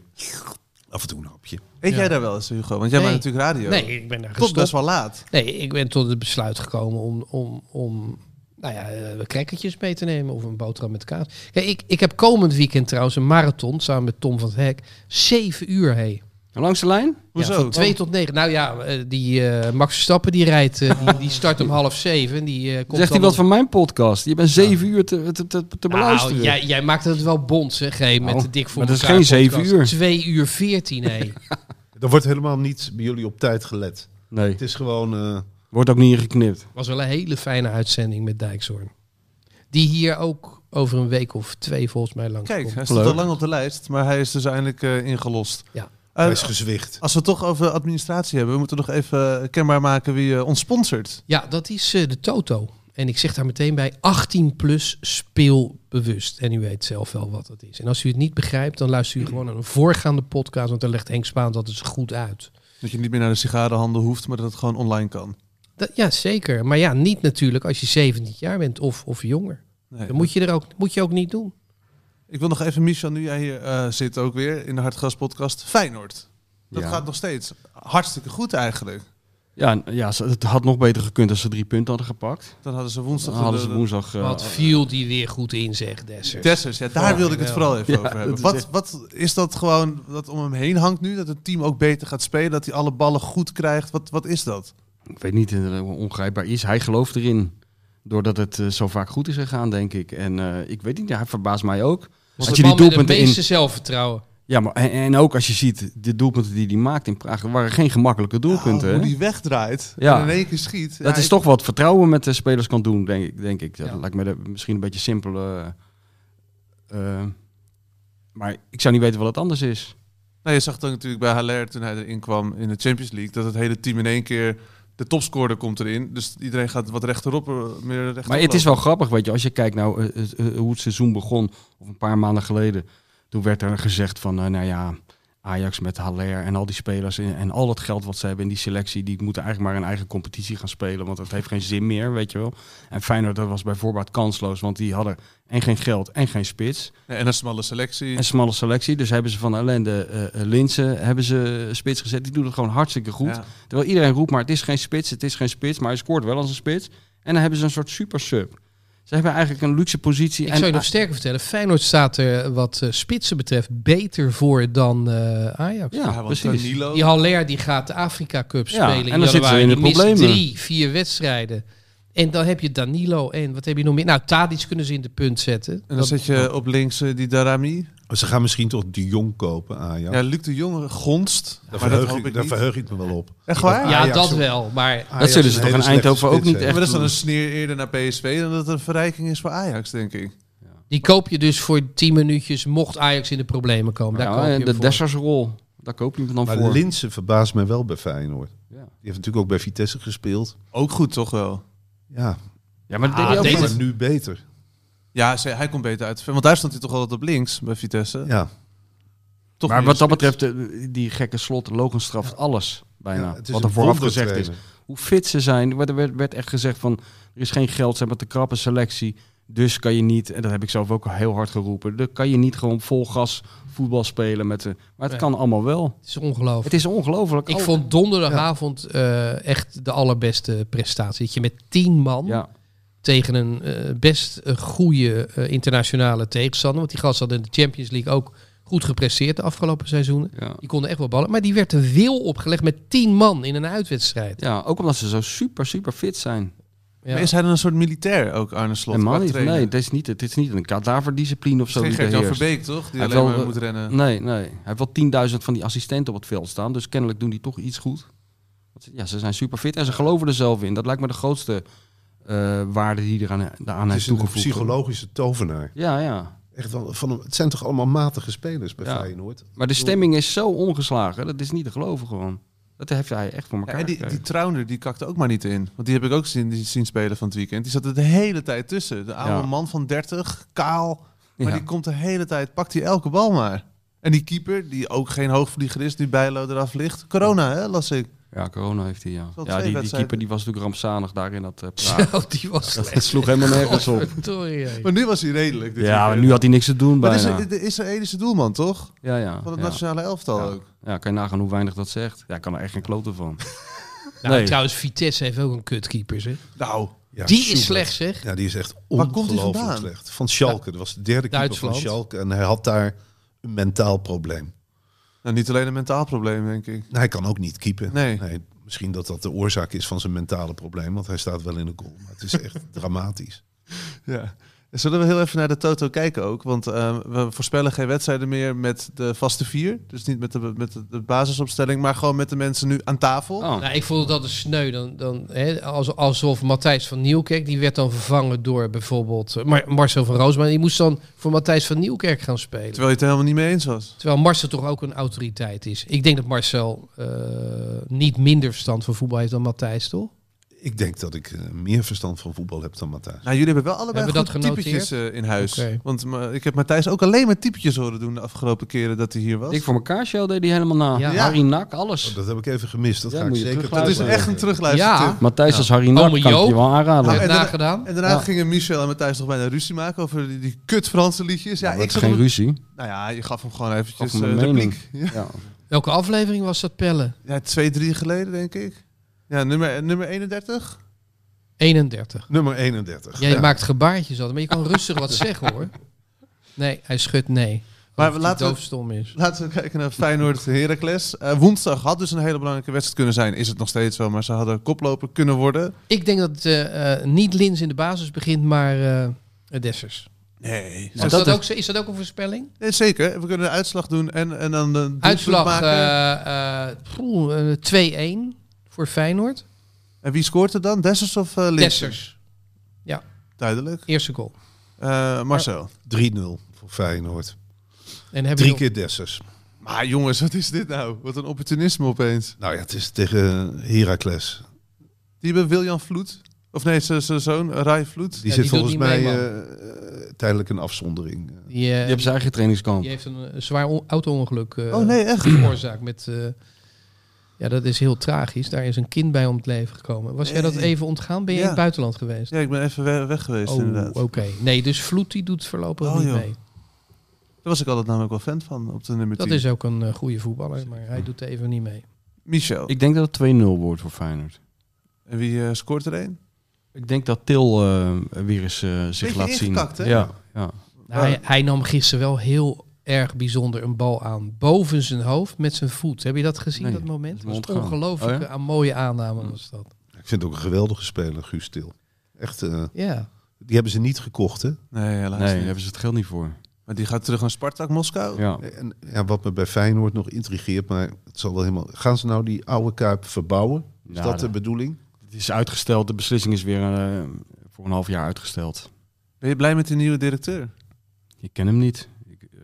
Speaker 2: af en toe een hapje.
Speaker 4: eet
Speaker 6: Ja.
Speaker 4: jij daar wel eens, Hugo? Want jij
Speaker 6: Nee.
Speaker 4: bent natuurlijk radio.
Speaker 6: Nee, ik ben daar
Speaker 4: Tot
Speaker 6: gestopt.
Speaker 4: best wel laat.
Speaker 6: Nee, ik ben tot het besluit gekomen om, om, om nou ja, eh, crackertjes mee te nemen of een boterham met kaas. Kijk, ik, ik heb komend weekend trouwens een marathon samen met Tom van het Hek. Zeven uur, hé.
Speaker 5: Langs de lijn?
Speaker 4: Hoezo?
Speaker 6: Ja, van twee tot negen. Nou ja, eh, die eh, Max Verstappen die rijdt, eh, die, die start om half zeven. en Die, eh, komt
Speaker 5: Zegt hij wat
Speaker 6: dan om-
Speaker 5: van mijn podcast? Je bent zeven uur te, te, te, te
Speaker 6: Nou,
Speaker 5: beluisteren.
Speaker 6: jij, jij maakt het wel bond, zeg, hé, met
Speaker 5: Nou,
Speaker 6: de dik voor
Speaker 5: maar dat is
Speaker 6: elkaar
Speaker 5: geen zeven
Speaker 6: podcast.
Speaker 5: uur.
Speaker 6: Twee uur veertien, hé.
Speaker 2: Er wordt helemaal niet bij jullie op tijd gelet.
Speaker 5: Nee,
Speaker 2: Het is gewoon... eh,
Speaker 5: wordt ook niet ingeknipt.
Speaker 6: was wel een hele fijne uitzending met Dijkshoorn. Die hier ook over een week of twee volgens mij langs
Speaker 4: Kijk,
Speaker 6: komt.
Speaker 4: hij stond
Speaker 5: Leuk.
Speaker 4: al lang op de lijst, maar hij is dus eindelijk eh, ingelost.
Speaker 6: Ja.
Speaker 4: Eh,
Speaker 2: hij is gezwicht.
Speaker 4: als we het toch over administratie hebben, we moeten nog even kenbaar maken wie eh, ons sponsort.
Speaker 6: Ja, dat is eh, de Toto. En ik zeg daar meteen bij 18 plus speelbewust. En u weet zelf wel wat dat is. En als u het niet begrijpt, dan luistert u gewoon naar een voorgaande podcast. Want daar legt Henk Spaan dat eens goed uit.
Speaker 4: Dat je niet meer naar de sigarenhandel hoeft, maar dat het gewoon online kan.
Speaker 6: Dat, ja, zeker. Maar ja, niet natuurlijk als je 17 jaar bent of, of jonger.
Speaker 4: Nee,
Speaker 6: Dat moet je, er ook, moet je ook niet doen.
Speaker 4: Ik wil nog even, Michel, nu jij hier eh, zit ook weer in de Hartgras podcast, Feyenoord. Dat
Speaker 5: Ja.
Speaker 4: gaat nog steeds hartstikke goed eigenlijk.
Speaker 5: Ja, en- ja, ze- het had nog beter gekund als ze drie punten hadden gepakt.
Speaker 4: Dan hadden ze
Speaker 5: Dan
Speaker 4: woensdag...
Speaker 5: hadden ze
Speaker 4: de-
Speaker 5: woensdag... eh,
Speaker 6: Wat viel die weer goed in, zegt Dessers.
Speaker 4: Dessers, ja, daar
Speaker 6: Oh,
Speaker 4: wilde ik het
Speaker 6: ja.
Speaker 4: vooral even
Speaker 5: Ja,
Speaker 4: over
Speaker 5: dat
Speaker 4: hebben.
Speaker 5: is
Speaker 4: Wat,
Speaker 5: echt-
Speaker 4: wat is dat gewoon dat om hem heen hangt nu? Dat het team ook beter gaat spelen, dat hij alle ballen goed krijgt. Wat, wat is dat?
Speaker 5: ik weet niet eh, hoe ongrijpbaar is. Hij gelooft erin. Doordat het eh, zo vaak goed is gegaan, denk ik. En eh, ik weet niet, ja, hij verbaast mij ook.
Speaker 6: Was
Speaker 5: Had
Speaker 6: de
Speaker 5: je die
Speaker 6: man met het
Speaker 5: doelpunten in-
Speaker 6: meeste zelfvertrouwen.
Speaker 5: Ja, maar en, en ook als je ziet, de doelpunten die hij maakt in Praag waren geen gemakkelijke doelpunten.
Speaker 4: Ja,
Speaker 5: hè?
Speaker 4: Nou, hoe die wegdraait
Speaker 5: Ja.
Speaker 4: en in één keer schiet.
Speaker 5: Dat
Speaker 4: Ja,
Speaker 5: is
Speaker 4: ik-
Speaker 5: toch wat vertrouwen met de spelers kan doen, denk ik. Denk ik. Dat
Speaker 6: Ja.
Speaker 5: lijkt me de- misschien een beetje simpel. eh, eh, maar ik zou niet weten wat het anders is.
Speaker 4: Nou, je zag dan natuurlijk bij Haller toen hij erin kwam in de Champions League... dat het hele team in één keer... De topscorer komt erin, dus iedereen gaat wat rechterop. eh, Meer rechterop
Speaker 5: Maar het is
Speaker 4: lopen.
Speaker 5: wel grappig, weet je, als je kijkt nou, eh, eh, eh, hoe het seizoen begon, of een paar maanden geleden, toen werd er gezegd van, eh, nou ja, Ajax met Haller en al die spelers en, en al dat geld wat ze hebben in die selectie, die moeten eigenlijk maar een eigen competitie gaan spelen, want dat heeft geen zin meer, weet je wel. En Feyenoord, dat was bij voorbaat kansloos, want die hadden en geen geld en geen spits.
Speaker 4: Ja, en een smalle selectie.
Speaker 5: En smalle selectie, dus hebben ze van ellende eh, eh, Linsen, hebben ze spits gezet, die doen het gewoon hartstikke goed.
Speaker 4: Ja.
Speaker 5: Terwijl iedereen roept maar het is geen spits, het is geen spits, maar hij scoort wel als een spits. En dan hebben ze een soort super sub. Ze hebben eigenlijk een luxe positie.
Speaker 6: Ik
Speaker 5: en, Ah,
Speaker 6: zou je nog sterker vertellen, Feyenoord staat er wat eh, spitsen betreft beter voor dan eh, Ajax.
Speaker 5: Ja,
Speaker 4: want
Speaker 5: precies.
Speaker 4: Danilo-
Speaker 6: Die Haller die gaat de Afrika Cup
Speaker 5: Ja,
Speaker 6: spelen.
Speaker 5: en dan zitten ze in de
Speaker 6: januari. Die mist
Speaker 5: problemen.
Speaker 6: drie, vier wedstrijden. En dan heb je Danilo en wat heb je nog meer? Nou, Tadic kunnen ze in de punt zetten.
Speaker 4: En dan
Speaker 6: Dat-
Speaker 4: zet je op links eh, die Darami.
Speaker 2: Ze gaan misschien toch de Jong kopen, Ajax.
Speaker 4: Ja, Luc de Jonge gonst.
Speaker 2: daar,
Speaker 4: maar dat
Speaker 2: verheug
Speaker 4: hoop
Speaker 2: ik,
Speaker 4: ik
Speaker 2: daar
Speaker 4: niet.
Speaker 2: verheug ik me wel op.
Speaker 4: Echt waar?
Speaker 6: ja,
Speaker 2: Ajax
Speaker 6: dat
Speaker 2: ook.
Speaker 6: wel. Maar
Speaker 2: Ajax
Speaker 5: zullen
Speaker 2: is
Speaker 5: ze
Speaker 2: een
Speaker 5: toch
Speaker 2: hele
Speaker 5: in
Speaker 2: slechte
Speaker 5: Eindhoven ook
Speaker 2: spits,
Speaker 5: niet
Speaker 2: hè.
Speaker 5: echt
Speaker 4: maar dat is dan
Speaker 5: doen.
Speaker 4: een sneer eerder naar PSV dan dat het een verrijking is voor Ajax, denk ik.
Speaker 6: die koop je dus voor 10 minuutjes mocht Ajax in de problemen komen. Daar
Speaker 5: Ja,
Speaker 6: koop je
Speaker 5: nou, en
Speaker 6: hem
Speaker 5: de
Speaker 6: voor.
Speaker 5: Dessersrol, daar koop je hem dan
Speaker 2: Maar
Speaker 5: voor.
Speaker 2: Linsen verbaast mij wel bij Feyenoord.
Speaker 5: Ja.
Speaker 2: Die heeft natuurlijk ook bij Vitesse gespeeld.
Speaker 4: Ook goed, toch wel?
Speaker 2: Ja,
Speaker 5: ja, maar
Speaker 6: Ah,
Speaker 5: die ook
Speaker 6: deze-
Speaker 5: niet.
Speaker 2: maar nu beter.
Speaker 4: Ja, ze- hij komt beter uit. Want daar stond hij toch altijd op links bij Vitesse.
Speaker 2: Ja.
Speaker 4: Toch
Speaker 5: maar
Speaker 4: meer
Speaker 5: wat dat
Speaker 4: spits.
Speaker 5: betreft, eh, die gekke slot, Logan straft alles bijna.
Speaker 2: Ja,
Speaker 5: wat
Speaker 2: een
Speaker 5: er vooraf gezegd
Speaker 2: wondertrainer.
Speaker 5: is. Hoe fit ze zijn. Er werd, werd echt gezegd van, er is geen geld, ze hebben te krappe selectie. Dus kan je niet, en dat heb ik zelf ook al heel hard geroepen, dan kan je niet gewoon vol gas voetbal spelen met de... Maar het
Speaker 6: Nee.
Speaker 5: kan allemaal wel.
Speaker 6: Het is ongelooflijk.
Speaker 5: Het is ongelooflijk.
Speaker 6: Ik
Speaker 5: Al-
Speaker 6: vond donderdagavond eh, echt de allerbeste prestatie. Dat je met 10 man
Speaker 5: Ja,
Speaker 6: tegen een eh, best eh, goede eh, internationale tegenstander. Want die gast had in de Champions League ook goed gepresteerd de afgelopen seizoenen.
Speaker 5: ja.
Speaker 6: Die konden echt wel ballen. Maar die werd de wil opgelegd met 10 man in een uitwedstrijd.
Speaker 5: ja, ook omdat ze zo super, super fit zijn.
Speaker 6: Ja.
Speaker 4: Maar is hij dan een soort militair ook, Arne Slot?
Speaker 5: Helemaal
Speaker 4: qua
Speaker 5: niet.
Speaker 4: trainer?
Speaker 5: Nee, het is niet, het is niet een kadaverdiscipline of
Speaker 4: Het
Speaker 5: zo.
Speaker 4: is geen
Speaker 5: die er
Speaker 4: Gert-Jan
Speaker 5: heerst.
Speaker 4: Verbeek, toch? Die
Speaker 5: Hij
Speaker 4: alleen
Speaker 5: wil,
Speaker 4: maar
Speaker 5: eh,
Speaker 4: moet rennen.
Speaker 5: Nee, nee. Hij heeft wel 10.000 van die assistenten op het veld staan. Dus kennelijk doen die toch iets goed. Want ze- Ja, ze zijn super fit en ze geloven er zelf in. Dat lijkt me de grootste eh, waarde die eraan daaraan
Speaker 2: Het
Speaker 5: heeft
Speaker 2: is een
Speaker 5: toegevoegd.
Speaker 2: psychologische tovenaar.
Speaker 5: Ja, ja.
Speaker 2: Echt wel, van, het zijn toch allemaal matige spelers bij
Speaker 5: Ja.
Speaker 2: Feyenoord?
Speaker 5: Maar de stemming is zo ongeslagen. Dat is niet te geloven gewoon. Dat heeft hij echt voor
Speaker 4: Ja,
Speaker 5: elkaar
Speaker 4: en die, die
Speaker 5: gekregen.
Speaker 4: Trounder, die kakte ook maar niet in. Want die heb ik ook zien, die zien spelen van het weekend. Die zat er de hele tijd tussen. De oude
Speaker 5: Ja.
Speaker 4: man van 30, kaal. Maar
Speaker 5: Ja.
Speaker 4: die komt de hele tijd, pakt hij elke bal maar. En die keeper, die ook geen hoogvlieger is, die Bijlo eraf ligt. Corona, hè, las ik.
Speaker 5: Ja, corona heeft hij, ja.
Speaker 4: Wel
Speaker 5: Ja,
Speaker 4: twee
Speaker 5: die, die
Speaker 4: wedstrijden.
Speaker 5: keeper die was natuurlijk rampzalig daar in dat eh praat.
Speaker 6: Zo, die was slecht.
Speaker 5: Het sloeg helemaal nergens op.
Speaker 6: Verdorie, hé.
Speaker 4: Maar nu was hij redelijk. dit
Speaker 5: Ja, maar
Speaker 4: weekend.
Speaker 5: nu had hij niks te doen
Speaker 4: Maar dit
Speaker 5: bijna.
Speaker 4: is de Israëlische doelman, toch?
Speaker 5: Ja, ja.
Speaker 4: Van het
Speaker 5: ja.
Speaker 4: nationale elftal
Speaker 5: Ja.
Speaker 4: ook.
Speaker 5: Ja, kan je nagaan hoe weinig dat zegt. Ja, ik kan er echt geen klote van.
Speaker 6: Nou,
Speaker 5: Nee.
Speaker 6: Trouwens, Vitesse heeft ook een kutkeeper. Zeg.
Speaker 4: Nou,
Speaker 2: Ja,
Speaker 6: die
Speaker 2: Schubert.
Speaker 6: is slecht, zeg.
Speaker 2: Ja, die is echt
Speaker 4: Waar komt die
Speaker 2: ongelooflijk
Speaker 4: vandaan?
Speaker 2: slecht. Van Schalke. Dat was de derde keeper van
Speaker 6: Duitsland.
Speaker 2: Schalke. En hij had daar een mentaal probleem.
Speaker 4: nou, niet alleen een mentaal probleem, denk ik.
Speaker 2: Nou, hij kan ook niet keepen.
Speaker 4: Nee.
Speaker 2: misschien dat dat de oorzaak is van zijn mentale probleem. Want hij staat wel in de goal. Maar het is echt dramatisch.
Speaker 4: Ja. Zullen we heel even naar de Toto kijken ook? Want eh, we voorspellen geen wedstrijden meer met de vaste vier. Dus niet met de, met de, de basisopstelling, maar gewoon met de mensen nu aan tafel.
Speaker 5: Oh.
Speaker 6: Nou, ik vond het altijd sneu. Dan, dan, hè, als- alsof Matthijs van Nieuwkerk, die werd dan vervangen door bijvoorbeeld eh, Mar- Marcel van Roosman. Die moest dan voor Matthijs van Nieuwkerk gaan spelen.
Speaker 4: Terwijl je het er helemaal niet mee eens was.
Speaker 6: Terwijl Marcel toch ook een autoriteit is. Ik denk dat Marcel eh, niet minder verstand van voetbal heeft dan Matthijs, toch?
Speaker 2: Ik denk dat ik eh, meer verstand van voetbal heb dan Matthijs.
Speaker 4: Nou, jullie hebben wel allebei
Speaker 6: Hebben we
Speaker 4: goed
Speaker 6: dat genoteerd?
Speaker 4: typetjes eh, in huis.
Speaker 6: Oké.
Speaker 4: Want ma- ik heb Matthijs ook alleen maar typetjes horen doen de afgelopen keren dat hij hier was.
Speaker 5: Ik voor elkaar show deed hij helemaal na.
Speaker 6: Ja.
Speaker 5: Harry Nak, alles.
Speaker 2: Oh, dat heb ik even gemist. Dat
Speaker 5: Ja,
Speaker 2: ga ik
Speaker 5: moet je
Speaker 2: zeker
Speaker 5: terugluisteren.
Speaker 4: dat is echt een terugluistertip.
Speaker 6: Ja.
Speaker 5: Matthijs als Harry Nak
Speaker 6: Ome
Speaker 5: kan ik je
Speaker 6: Joop.
Speaker 5: wel aanraden.
Speaker 6: Heb
Speaker 4: en
Speaker 6: ik
Speaker 4: daarna-
Speaker 6: nagedaan.
Speaker 4: En daarna
Speaker 5: Ja.
Speaker 4: gingen Michel en Matthijs nog bijna ruzie maken over die, die kut Franse liedjes. Ja,
Speaker 5: Ja, dat
Speaker 4: ik
Speaker 5: is
Speaker 4: zat
Speaker 5: geen
Speaker 4: op-
Speaker 5: ruzie.
Speaker 4: Nou ja, je gaf hem gewoon eventjes
Speaker 5: Gaf hem een
Speaker 4: eh,
Speaker 5: mening.
Speaker 4: repliek. Ja.
Speaker 5: Ja.
Speaker 6: Welke aflevering was dat, Pelle?
Speaker 4: Ja, twee, drie geleden denk ik. Ja, nummer, nummer 31.
Speaker 6: 31.
Speaker 2: Nummer 31.
Speaker 6: Jij
Speaker 2: Ja.
Speaker 6: maakt gebaartjes altijd, maar je kan rustig wat zeggen, hoor. Nee, hij schudt nee.
Speaker 4: Maar
Speaker 6: Of
Speaker 4: we
Speaker 6: hij
Speaker 4: laten-
Speaker 6: doofstom is.
Speaker 4: Laten we kijken naar Feyenoord Heracles. Eh, woensdag had dus een hele belangrijke wedstrijd kunnen zijn. Is het nog steeds wel, maar ze hadden koploper kunnen worden.
Speaker 6: Ik denk dat eh, eh, niet Lins in de basis begint, maar eh Dessers.
Speaker 4: Nee.
Speaker 6: is,
Speaker 5: dat
Speaker 6: dat
Speaker 5: is-
Speaker 6: ook, zo- is dat ook een voorspelling?
Speaker 4: zeker, we kunnen de uitslag doen en, en dan de doelpunt
Speaker 6: Uitslag
Speaker 4: maken.
Speaker 6: eh, eh, poeh, eh, 2-1 voor Feyenoord.
Speaker 4: En wie scoort er dan? Dessers of eh Linssen?
Speaker 6: Dessers,
Speaker 4: Duidelijk.
Speaker 6: eerste goal.
Speaker 4: Eh, Marcel.
Speaker 2: 3-0 voor Feyenoord.
Speaker 6: En hebben we
Speaker 2: Drie
Speaker 6: nog-
Speaker 2: keer Dessers.
Speaker 4: Maar jongens, wat is dit nou? Wat een opportunisme opeens.
Speaker 2: Nou ja, het is tegen Heracles.
Speaker 4: Die hebben Wiljan Vloed. Of nee, zijn zijn zoon, Rai Vloed.
Speaker 2: Die
Speaker 6: Ja,
Speaker 2: zit
Speaker 6: die doet
Speaker 2: volgens
Speaker 6: niet
Speaker 2: mij
Speaker 6: mee,
Speaker 2: eh, eh, tijdelijk een afzondering.
Speaker 6: Die, eh,
Speaker 5: Je hebt zijn eigen trainingskamp.
Speaker 6: die heeft een eh, zwaar on- auto-ongeluk eh,
Speaker 4: oh nee, echt?
Speaker 6: veroorzaakt met... eh, ja, dat is heel tragisch. Daar is een kind bij om het leven gekomen. Was jij dat
Speaker 4: Nee.
Speaker 6: even ontgaan? Ben
Speaker 4: Ja.
Speaker 6: je in het buitenland geweest?
Speaker 4: Ja, ik ben even we- weg geweest
Speaker 6: oh,
Speaker 4: inderdaad.
Speaker 6: oké. Nee, dus Vloed die doet voorlopig
Speaker 4: Oh,
Speaker 6: niet
Speaker 4: joh.
Speaker 6: mee.
Speaker 4: Daar was ik altijd namelijk wel fan van, op de nummer
Speaker 6: Dat
Speaker 4: 10.
Speaker 6: is ook een eh, goede voetballer, maar hij doet even niet mee.
Speaker 4: Michel.
Speaker 5: Ik denk dat het 2-0 wordt voor Feyenoord.
Speaker 4: En wie eh, scoort er een?
Speaker 5: Ik denk dat Til eh, weer eens eh, zich
Speaker 4: Beetje
Speaker 5: laat zien.
Speaker 4: ingekakt, hè?
Speaker 5: Ja, ja.
Speaker 6: Nou, hij, hij nam gisteren wel heel erg bijzonder een bal aan. Boven zijn hoofd met zijn voet. Heb je dat gezien,
Speaker 5: Nee,
Speaker 6: dat moment?
Speaker 5: dat is
Speaker 6: Dat
Speaker 5: me
Speaker 6: was
Speaker 5: ontgaan.
Speaker 6: ongelooflijk
Speaker 5: Oh ja?
Speaker 6: een mooie aanname was dat.
Speaker 2: Ik vind het ook een geweldige speler, Guus Til. Echt, eh,
Speaker 6: Ja.
Speaker 2: die hebben ze niet gekocht, hè?
Speaker 4: Ah, Nee, helaas
Speaker 5: Nee, daar
Speaker 4: niet.
Speaker 5: hebben ze het geld niet voor.
Speaker 4: Maar die gaat terug naar Spartak Moskou.
Speaker 5: Ja.
Speaker 2: En ja, wat me bij Feyenoord nog intrigeert, maar het zal wel helemaal... Gaan ze nou die oude Kuip verbouwen? Is
Speaker 5: Ja,
Speaker 2: Dus dat eh, de
Speaker 5: Nou, dat-
Speaker 2: bedoeling?
Speaker 5: Het is uitgesteld, de beslissing is weer eh, voor een half jaar uitgesteld.
Speaker 4: Ben je blij met die nieuwe directeur?
Speaker 5: Ik ken hem niet. Ik, eh,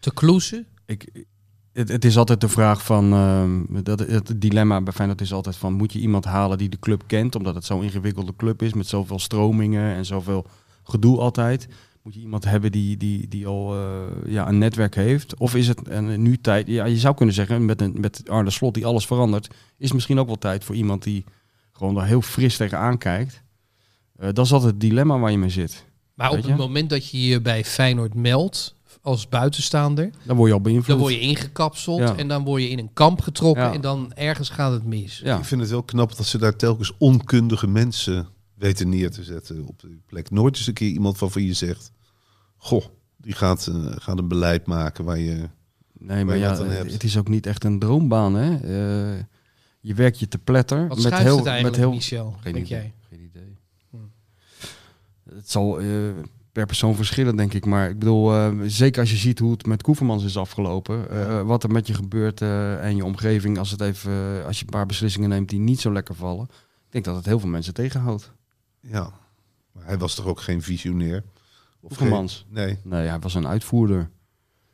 Speaker 6: Te kloesen.
Speaker 5: ik, het, het is altijd de vraag van, ehm, dat, het dilemma bij Feyenoord is altijd van, moet je iemand halen die de club kent, omdat het zo'n ingewikkelde club is met zoveel stromingen en zoveel gedoe altijd. Moet je iemand hebben die, die, die al eh, ja, een netwerk heeft? Of is het en nu tijd, ja, je zou kunnen zeggen, met, een, met Arne Slot die alles verandert, is misschien ook wel tijd voor iemand die gewoon daar heel fris tegenaan kijkt. Eh, dat is altijd het dilemma waar je mee zit.
Speaker 6: Maar
Speaker 5: Weet
Speaker 6: op
Speaker 5: je?
Speaker 6: het moment dat je je bij Feyenoord meldt als buitenstaander,
Speaker 5: Dan word je al beïnvloed.
Speaker 6: dan word je ingekapseld
Speaker 5: Ja.
Speaker 6: en dan word je in een kamp getrokken
Speaker 5: Ja.
Speaker 6: en dan ergens gaat het mis.
Speaker 5: Ja.
Speaker 2: Ik vind het wel knap dat ze daar telkens onkundige mensen weten neer te zetten op de plek. Nooit eens een keer iemand waarvan je zegt... Goh, die gaat, eh, gaat een beleid maken waar je...
Speaker 5: Nee,
Speaker 2: waar
Speaker 5: maar
Speaker 2: je
Speaker 5: ja,
Speaker 2: wat aan hebt.
Speaker 5: het is ook niet echt een droombaan, hè? Eh, je werkt je te pletter.
Speaker 6: Wat
Speaker 5: met
Speaker 6: schuift
Speaker 5: heel,
Speaker 6: het eigenlijk,
Speaker 5: met heel,
Speaker 6: Michel?
Speaker 5: Geen
Speaker 6: denk
Speaker 5: idee.
Speaker 6: jij?
Speaker 5: Geen idee.
Speaker 6: Hm.
Speaker 5: Het zal eh, per persoon verschillen, denk ik. Maar ik bedoel, eh, zeker als je ziet hoe het met Koevermans is afgelopen. eh, wat er met je gebeurt eh, en je omgeving. Als, het even, eh, als je een paar beslissingen neemt die niet zo lekker vallen. Ik denk dat het heel veel mensen tegenhoudt.
Speaker 2: Ja, maar hij was toch ook geen visionair? Of geen,
Speaker 5: Koevermans.
Speaker 2: nee,
Speaker 5: Nee, hij was een uitvoerder.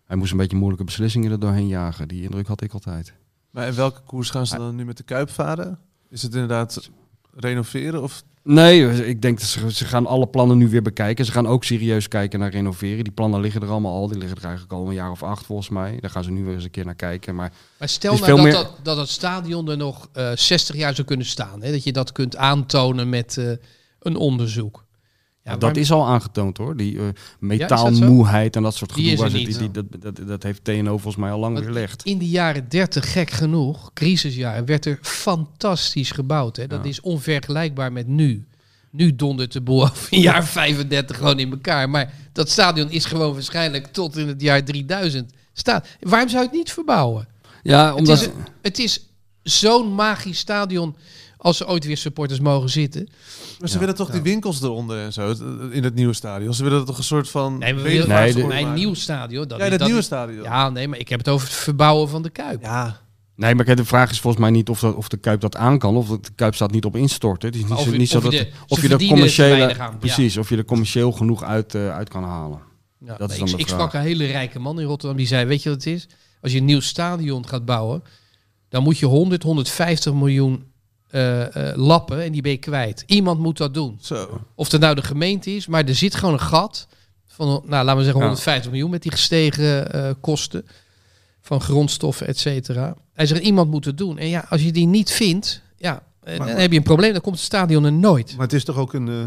Speaker 5: Hij moest een beetje moeilijke beslissingen er doorheen jagen. Die indruk had ik altijd.
Speaker 4: Maar in welke koers gaan ze dan nu met de Kuip varen? Is het inderdaad renoveren of
Speaker 5: Nee, ik denk dat ze, ze gaan alle plannen nu weer bekijken. Ze gaan ook serieus kijken naar renoveren. Die plannen liggen er allemaal al. Die liggen er eigenlijk al een jaar of acht volgens mij. Daar gaan ze nu weer eens een keer naar kijken. Maar
Speaker 6: Maar stel
Speaker 5: Het is
Speaker 6: nou dat,
Speaker 5: veel meer-
Speaker 6: dat, dat het stadion er nog eh, 60 jaar zou kunnen staan. Hè? Dat je dat kunt aantonen met eh, een onderzoek. Ja,
Speaker 5: dat
Speaker 6: waarom-
Speaker 5: is al aangetoond hoor. Die eh,
Speaker 6: dat zo?
Speaker 5: metaalmoeheid en dat soort
Speaker 6: Die
Speaker 5: gedoe.
Speaker 6: is er
Speaker 5: waar ze-
Speaker 6: niet.
Speaker 5: die, dat, dat, dat heeft TNO volgens mij al lang
Speaker 6: Want-
Speaker 5: weerlegd.
Speaker 6: In de jaren 30, gek genoeg, crisisjaren, werd er fantastisch gebouwd. Hè? Dat
Speaker 5: Ja.
Speaker 6: is onvergelijkbaar met nu. Nu dondert de boel over een jaar 35 gewoon in elkaar. Maar dat stadion is gewoon waarschijnlijk tot in het jaar 3000 staan. Waarom zou je het niet verbouwen?
Speaker 5: Ja, omdat...
Speaker 6: Het is, een- het is zo'n magisch stadion als er ooit weer supporters mogen zitten.
Speaker 4: Maar ze
Speaker 5: Ja.
Speaker 4: willen toch die winkels eronder en zo het- eh, in het nieuwe stadion. Ze willen er toch een soort van
Speaker 6: Nee, maar we willen-
Speaker 4: bedevaart
Speaker 5: Nee,
Speaker 4: voor
Speaker 5: de-
Speaker 6: mijn
Speaker 4: maken.
Speaker 6: nieuw stadion. Dat,
Speaker 4: ja, dat,
Speaker 6: dat-
Speaker 4: nieuwe stadion.
Speaker 6: Ja, nee, maar ik heb het over het verbouwen van de Kuip.
Speaker 4: Ja.
Speaker 5: Nee, maar kijk, de vraag is volgens mij niet of, dat, of de Kuip dat aan kan. Of dat de Kuip staat niet op instorten. Het is niet
Speaker 6: Maar
Speaker 5: zo,
Speaker 6: of je-
Speaker 5: niet zo
Speaker 6: of je
Speaker 5: dat...
Speaker 6: de- ze
Speaker 5: of je de
Speaker 6: verdienen er te
Speaker 5: commerciële...
Speaker 6: weinig aan, ja.
Speaker 5: Precies, of je er commercieel genoeg uit, eh, uit kan halen.
Speaker 6: Ja,
Speaker 5: Dat is
Speaker 6: nee,
Speaker 5: dan
Speaker 6: ik,
Speaker 5: de
Speaker 6: ik sprak een hele rijke man in Rotterdam die zei: Weet je wat het is? Als je een nieuw stadion gaat bouwen, dan moet je 100, 150 miljoen eh, eh, lappen en die ben je kwijt. Iemand moet dat doen.
Speaker 4: Zo.
Speaker 6: Of dat nou de gemeente is, maar er zit gewoon een gat van, nou laten we zeggen, 150 miljoen met die gestegen eh, kosten van grondstoffen, et cetera. Hij zegt: Iemand moet het doen. En ja, als je die niet vindt, ja, eh,
Speaker 2: Maar-
Speaker 6: dan heb je een probleem, dan komt het stadion er nooit.
Speaker 2: maar het is toch ook een, eh,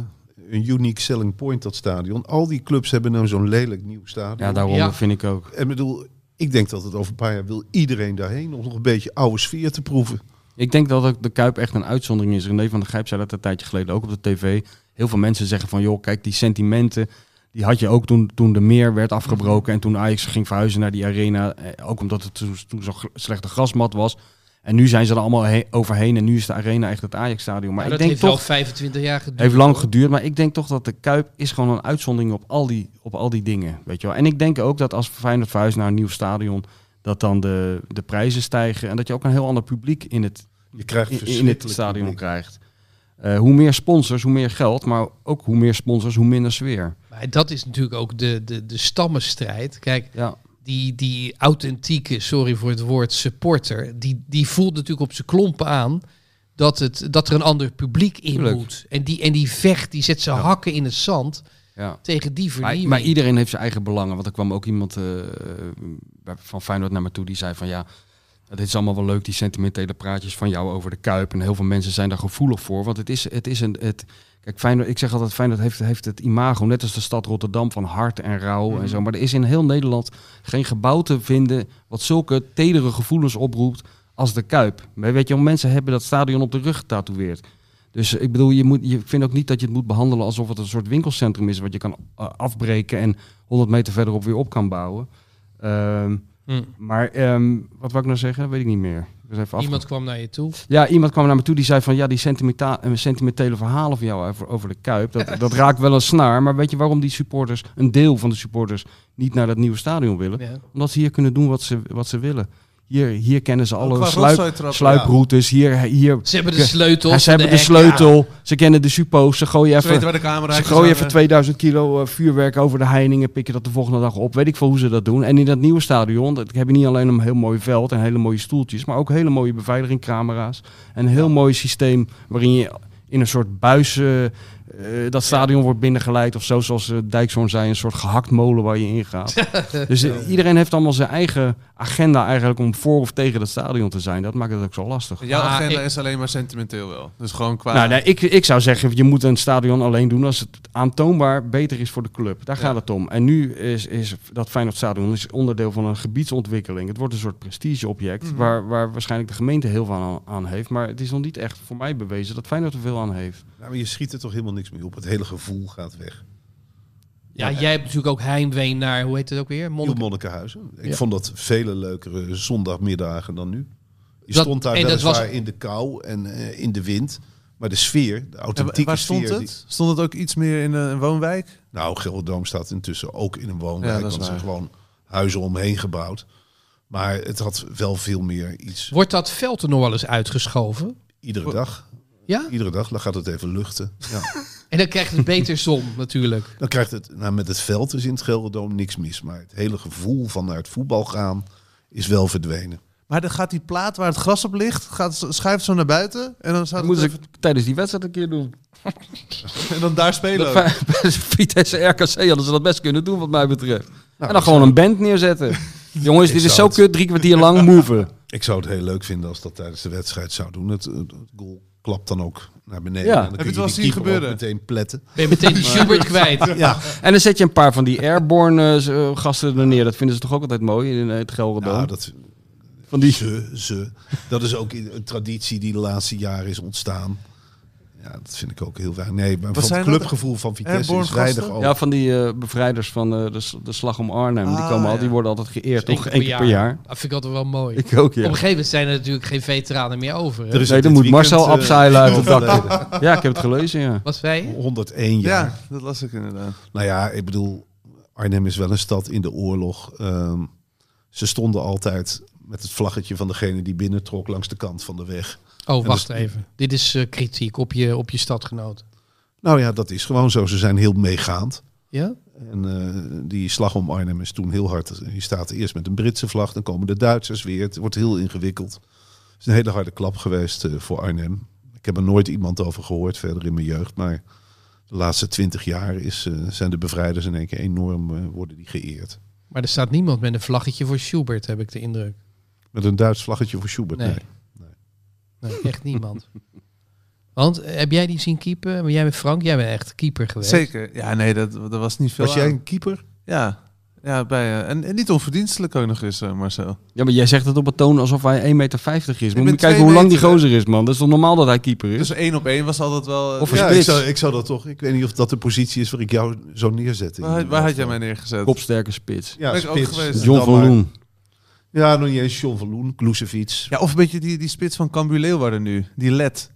Speaker 2: een unique selling point, dat stadion. Al die clubs hebben nou zo'n lelijk nieuw stadion.
Speaker 5: Ja, daarom
Speaker 6: Ja.
Speaker 5: vind ik ook.
Speaker 2: En bedoel, ik denk dat het over een paar jaar wil iedereen daarheen om nog een beetje oude sfeer te proeven.
Speaker 5: Ik denk dat ook de Kuip echt een uitzondering is. René van der Gijp zei dat een tijdje geleden ook op de tv. Heel veel mensen zeggen van, joh, kijk, die sentimenten... die had je ook toen, toen de meer werd afgebroken... en toen Ajax ging verhuizen naar die arena. Eh, Ook omdat het toen, toen zo'n gr- slechte grasmat was. En nu zijn ze er allemaal he- overheen... en nu is de arena echt het Ajax-stadion. Maar
Speaker 6: Maar
Speaker 5: ik
Speaker 6: dat
Speaker 5: denk
Speaker 6: heeft
Speaker 5: toch...
Speaker 6: wel 25 jaar geduurd.
Speaker 5: Heeft lang
Speaker 6: hoor.
Speaker 5: geduurd, maar ik denk toch dat de Kuip is gewoon een uitzondering op al die, op al die dingen. Weet je wel. En ik denk ook dat als Feyenoord verhuist naar een nieuw stadion, dat dan de, de prijzen stijgen en dat je ook een heel ander publiek in het,
Speaker 2: Je krijgt
Speaker 5: in, in
Speaker 2: verschrikkelijk
Speaker 5: het stadion
Speaker 2: publiek.
Speaker 5: krijgt. Eh, hoe meer sponsors, hoe meer geld, maar ook hoe meer sponsors, hoe minder sfeer.
Speaker 6: Maar dat is natuurlijk ook de, de, de stammenstrijd. Kijk,
Speaker 5: Ja,
Speaker 6: die, die authentieke, sorry voor het woord, supporter, die, die voelt natuurlijk op zijn klompen aan dat, het, dat er een ander publiek in
Speaker 5: Tuurlijk.
Speaker 6: moet. En die, en die vecht, die zet zijn
Speaker 5: Ja.
Speaker 6: hakken in het zand
Speaker 5: Ja.
Speaker 6: tegen die
Speaker 5: Maar,
Speaker 6: vernieuwing.
Speaker 5: maar iedereen heeft zijn eigen belangen. Want er kwam ook iemand eh, eh, van Feyenoord naar me toe die zei van ja, dit is allemaal wel leuk, die sentimentele praatjes van jou over de Kuip. En heel veel mensen zijn daar gevoelig voor. Want het is, het is een... Het, kijk, Feyenoord, ik zeg altijd, Feyenoord heeft, heeft het imago, net als de stad Rotterdam, van hart en rouw en zo. Maar er is in heel Nederland geen gebouw te vinden wat zulke tedere gevoelens oproept als de Kuip. Maar Weet je, wel, mensen hebben dat stadion op de rug getatoeëerd. Dus eh, ik bedoel, je moet, je vindt ook niet dat je het moet behandelen alsof het een soort winkelcentrum is wat je kan eh, afbreken en 100 meter verderop weer op kan bouwen. Ehm,
Speaker 6: Hm.
Speaker 5: maar ehm, wat wou ik nou zeggen? Weet ik niet meer. Ik was even
Speaker 6: Iemand kwam naar je toe.
Speaker 5: afge- Ja, iemand kwam naar me toe die zei van ja, die sentimenta- eh, sentimentele verhalen van jou over, over de Kuip, dat, dat raakt wel een snaar. Maar weet je waarom die supporters, een deel van de supporters, niet naar dat nieuwe stadion willen?
Speaker 6: Ja.
Speaker 5: Omdat ze hier kunnen doen wat ze, wat ze willen. Hier, hier kennen ze alle
Speaker 4: Qua
Speaker 5: sluip,
Speaker 4: rotzooi trap,
Speaker 5: sluiproutes, hier, hier
Speaker 6: Ze hebben de
Speaker 5: Ja,
Speaker 6: sleutel.
Speaker 5: ja, ze hebben de sleutel, ze kennen de suppo's, ze gooien
Speaker 4: ja. Ze weten
Speaker 5: even,
Speaker 4: waar de camera
Speaker 5: ze gooien even 2000 kilo eh, vuurwerk over de heiningen, pikken dat de volgende dag op. Weet ik veel hoe ze dat doen. En in dat nieuwe stadion dat heb je niet alleen een heel mooi veld en hele mooie stoeltjes, maar ook hele mooie beveiligingcamera's. En een heel mooi systeem waarin je in een soort buis eh, eh, dat stadion wordt binnengeleid of zo, zoals eh, Dijkshoorn zei, een soort gehaktmolen waar je in gaat. dus eh, iedereen heeft allemaal zijn eigen agenda eigenlijk om voor of tegen dat stadion te zijn. Dat maakt het ook zo lastig.
Speaker 4: Jouw
Speaker 6: Ah,
Speaker 4: agenda
Speaker 6: ik-
Speaker 4: is alleen maar sentimenteel wel. Dus gewoon qua...
Speaker 5: Nou, nee, ik, ik zou zeggen, je moet een stadion alleen doen als het aantoonbaar beter is voor de club. Daar
Speaker 4: Ja.
Speaker 5: gaat het om. En nu is, is dat Feyenoord Stadion is onderdeel van een gebiedsontwikkeling. Het wordt een soort prestigeobject
Speaker 4: Mhm.
Speaker 5: waar, waar waarschijnlijk de gemeente heel veel aan, aan heeft. Maar het is nog niet echt voor mij bewezen dat Feyenoord er veel aan heeft.
Speaker 2: Nou, maar je schiet er toch helemaal niks mee op. Het hele gevoel gaat weg.
Speaker 6: Ja, jij hebt natuurlijk ook heimwee naar, hoe heet het ook weer?
Speaker 2: Monnik...
Speaker 6: Monnik-
Speaker 2: Monnikenhuizen. Ik
Speaker 6: Ja.
Speaker 2: vond dat vele leukere zondagmiddagen dan nu. Je
Speaker 6: Dat-
Speaker 2: stond daar
Speaker 6: en dat
Speaker 2: weliswaar
Speaker 6: was-
Speaker 2: in de kou en eh, in de wind. Maar de sfeer, de
Speaker 4: En wa-
Speaker 2: authentieke
Speaker 4: waar stond
Speaker 2: sfeer... die-
Speaker 4: het? Stond het ook iets meer in een, een woonwijk?
Speaker 2: Nou, Gelderdoom staat intussen ook in een
Speaker 4: Ja,
Speaker 2: woonwijk.
Speaker 4: dat is
Speaker 2: want er zijn
Speaker 4: waar.
Speaker 2: gewoon huizen omheen gebouwd. Maar het had wel veel meer iets.
Speaker 6: Wordt dat veld er nog wel eens uitgeschoven?
Speaker 2: Iedere dag.
Speaker 6: Ja?
Speaker 2: Iedere dag dan gaat het even luchten. Ja.
Speaker 6: En dan krijgt het beter zon natuurlijk.
Speaker 2: Dan krijgt het, nou met het veld is in het Gelderdoom niks mis. Maar het hele gevoel van naar het voetbal gaan is wel verdwenen.
Speaker 4: Maar dan gaat die plaat waar het gras op ligt, gaat, schuift zo naar buiten. En dan, staat
Speaker 5: Dat
Speaker 4: het
Speaker 5: moeten ze
Speaker 4: even-
Speaker 5: tijdens die wedstrijd een keer doen.
Speaker 4: en dan daar spelen. ook.
Speaker 5: Bij Vitesse RKC hadden ze dat best kunnen doen, wat mij betreft. en dan
Speaker 2: dat
Speaker 5: gewoon een band neerzetten. Jongens, dit
Speaker 2: zou
Speaker 5: is zo
Speaker 2: het-
Speaker 5: kut, drie kwartier lang moeven.
Speaker 2: Ik zou het heel leuk vinden als dat tijdens de wedstrijd zou doen. Het, het goal klapt dan ook naar beneden.
Speaker 5: Ja.
Speaker 2: En dan
Speaker 5: Heb
Speaker 2: kun
Speaker 4: je het
Speaker 2: die
Speaker 4: wel zien
Speaker 2: keeper ook
Speaker 4: gebeuren?
Speaker 2: Meteen pletten.
Speaker 6: Ben je meteen die Schubert kwijt.
Speaker 2: Ja,
Speaker 5: En dan zet je een paar van die airborne eh, z- eh, gasten er neer. Dat vinden ze toch ook altijd mooi in eh, het Gelderdoom.
Speaker 2: nou, dat,
Speaker 5: van die...
Speaker 2: ze, ze. Dat is ook i- een traditie die de laatste jaren is ontstaan. Ja, dat vind ik ook heel weinig. Nee, maar van
Speaker 4: zijn
Speaker 2: het
Speaker 4: dat?
Speaker 2: clubgevoel van Vitesse
Speaker 4: Airborne
Speaker 2: is weinig
Speaker 4: gasten?
Speaker 2: over.
Speaker 5: Ja, van die eh, bevrijders van eh, de, s- de slag om Arnhem. die,
Speaker 4: Ah,
Speaker 5: komen al,
Speaker 4: ja.
Speaker 5: die worden altijd geëerd,
Speaker 6: Eén
Speaker 5: toch? Eén keer per jaar.
Speaker 6: Dat vind ik altijd wel mooi.
Speaker 5: Ik ook,
Speaker 6: Op
Speaker 5: ja.
Speaker 6: een gegeven moment zijn er natuurlijk geen veteranen meer over. hè?
Speaker 2: Er is
Speaker 5: Nee,
Speaker 2: dit
Speaker 5: dan moet
Speaker 2: weekend,
Speaker 5: Marcel
Speaker 2: eh,
Speaker 5: abzeilen uit het dak.
Speaker 2: overleden.
Speaker 5: Ja, ik heb het gelezen, ja.
Speaker 6: Wat zei je?
Speaker 2: 101
Speaker 4: ja.
Speaker 2: jaar.
Speaker 4: dat las ik inderdaad.
Speaker 2: Nou ja, ik bedoel, Arnhem is wel een stad in de oorlog. Ehm, ze stonden altijd met het vlaggetje van degene die binnentrok langs de kant van de weg.
Speaker 6: Oh,
Speaker 2: En
Speaker 6: wacht
Speaker 2: dus-
Speaker 6: even. Dit is eh, kritiek op je, op je stadgenoot.
Speaker 2: Nou ja, dat is gewoon zo. Ze zijn heel meegaand.
Speaker 6: Ja?
Speaker 2: En eh, die slag om Arnhem is toen heel hard. Je staat eerst met een Britse vlag, dan komen de Duitsers weer. Het wordt heel ingewikkeld. Het is een hele harde klap geweest eh, voor Arnhem. Ik heb er nooit iemand over gehoord verder in mijn jeugd. Maar de laatste twintig jaar is, eh, zijn de bevrijders in één keer enorm eh, worden die geëerd.
Speaker 6: Maar er staat niemand met een vlaggetje voor Schubert, heb ik de indruk.
Speaker 2: Met een Duits vlaggetje voor Schubert.
Speaker 6: Nee.
Speaker 2: Nee.
Speaker 6: Nee, echt niemand. Want eh, heb jij die zien keepen? Maar Jij bent Frank, jij bent echt keeper geweest.
Speaker 4: Zeker. Ja, nee, dat, dat was niet veel
Speaker 2: Was jij
Speaker 4: aan.
Speaker 2: een keeper?
Speaker 4: Ja. Ja, bij, eh, en, en niet onverdienstelijk ook nog eens, eh, Marcel.
Speaker 5: Ja, maar jij zegt het op een toon alsof hij 1,50 meter is.
Speaker 4: ben
Speaker 5: Moet je
Speaker 4: twee
Speaker 5: kijken hoe lang die
Speaker 4: meter, hè?
Speaker 5: gozer is, man. Dat is toch normaal dat hij keeper is?
Speaker 4: Dus één op één was altijd wel... eh,
Speaker 5: Of een
Speaker 2: Ja, ik
Speaker 5: spits.
Speaker 2: zou, ik zou dat toch. Ik weet niet of dat de positie is waar ik jou zo neerzet. in
Speaker 4: waar,
Speaker 2: ieder
Speaker 4: waar had jij
Speaker 2: geval.
Speaker 4: mij neergezet?
Speaker 5: Kopsterke spits.
Speaker 2: Ja,
Speaker 4: Ben ik ook
Speaker 2: spits.
Speaker 4: geweest.
Speaker 5: John
Speaker 2: Dan
Speaker 5: van
Speaker 2: maar-
Speaker 5: Loen.
Speaker 2: Ja, nog niet eens John van Loen, Kloesevic.
Speaker 4: Ja, of een beetje die, die spits van Cambuur Leeuwarden nu. Die Let.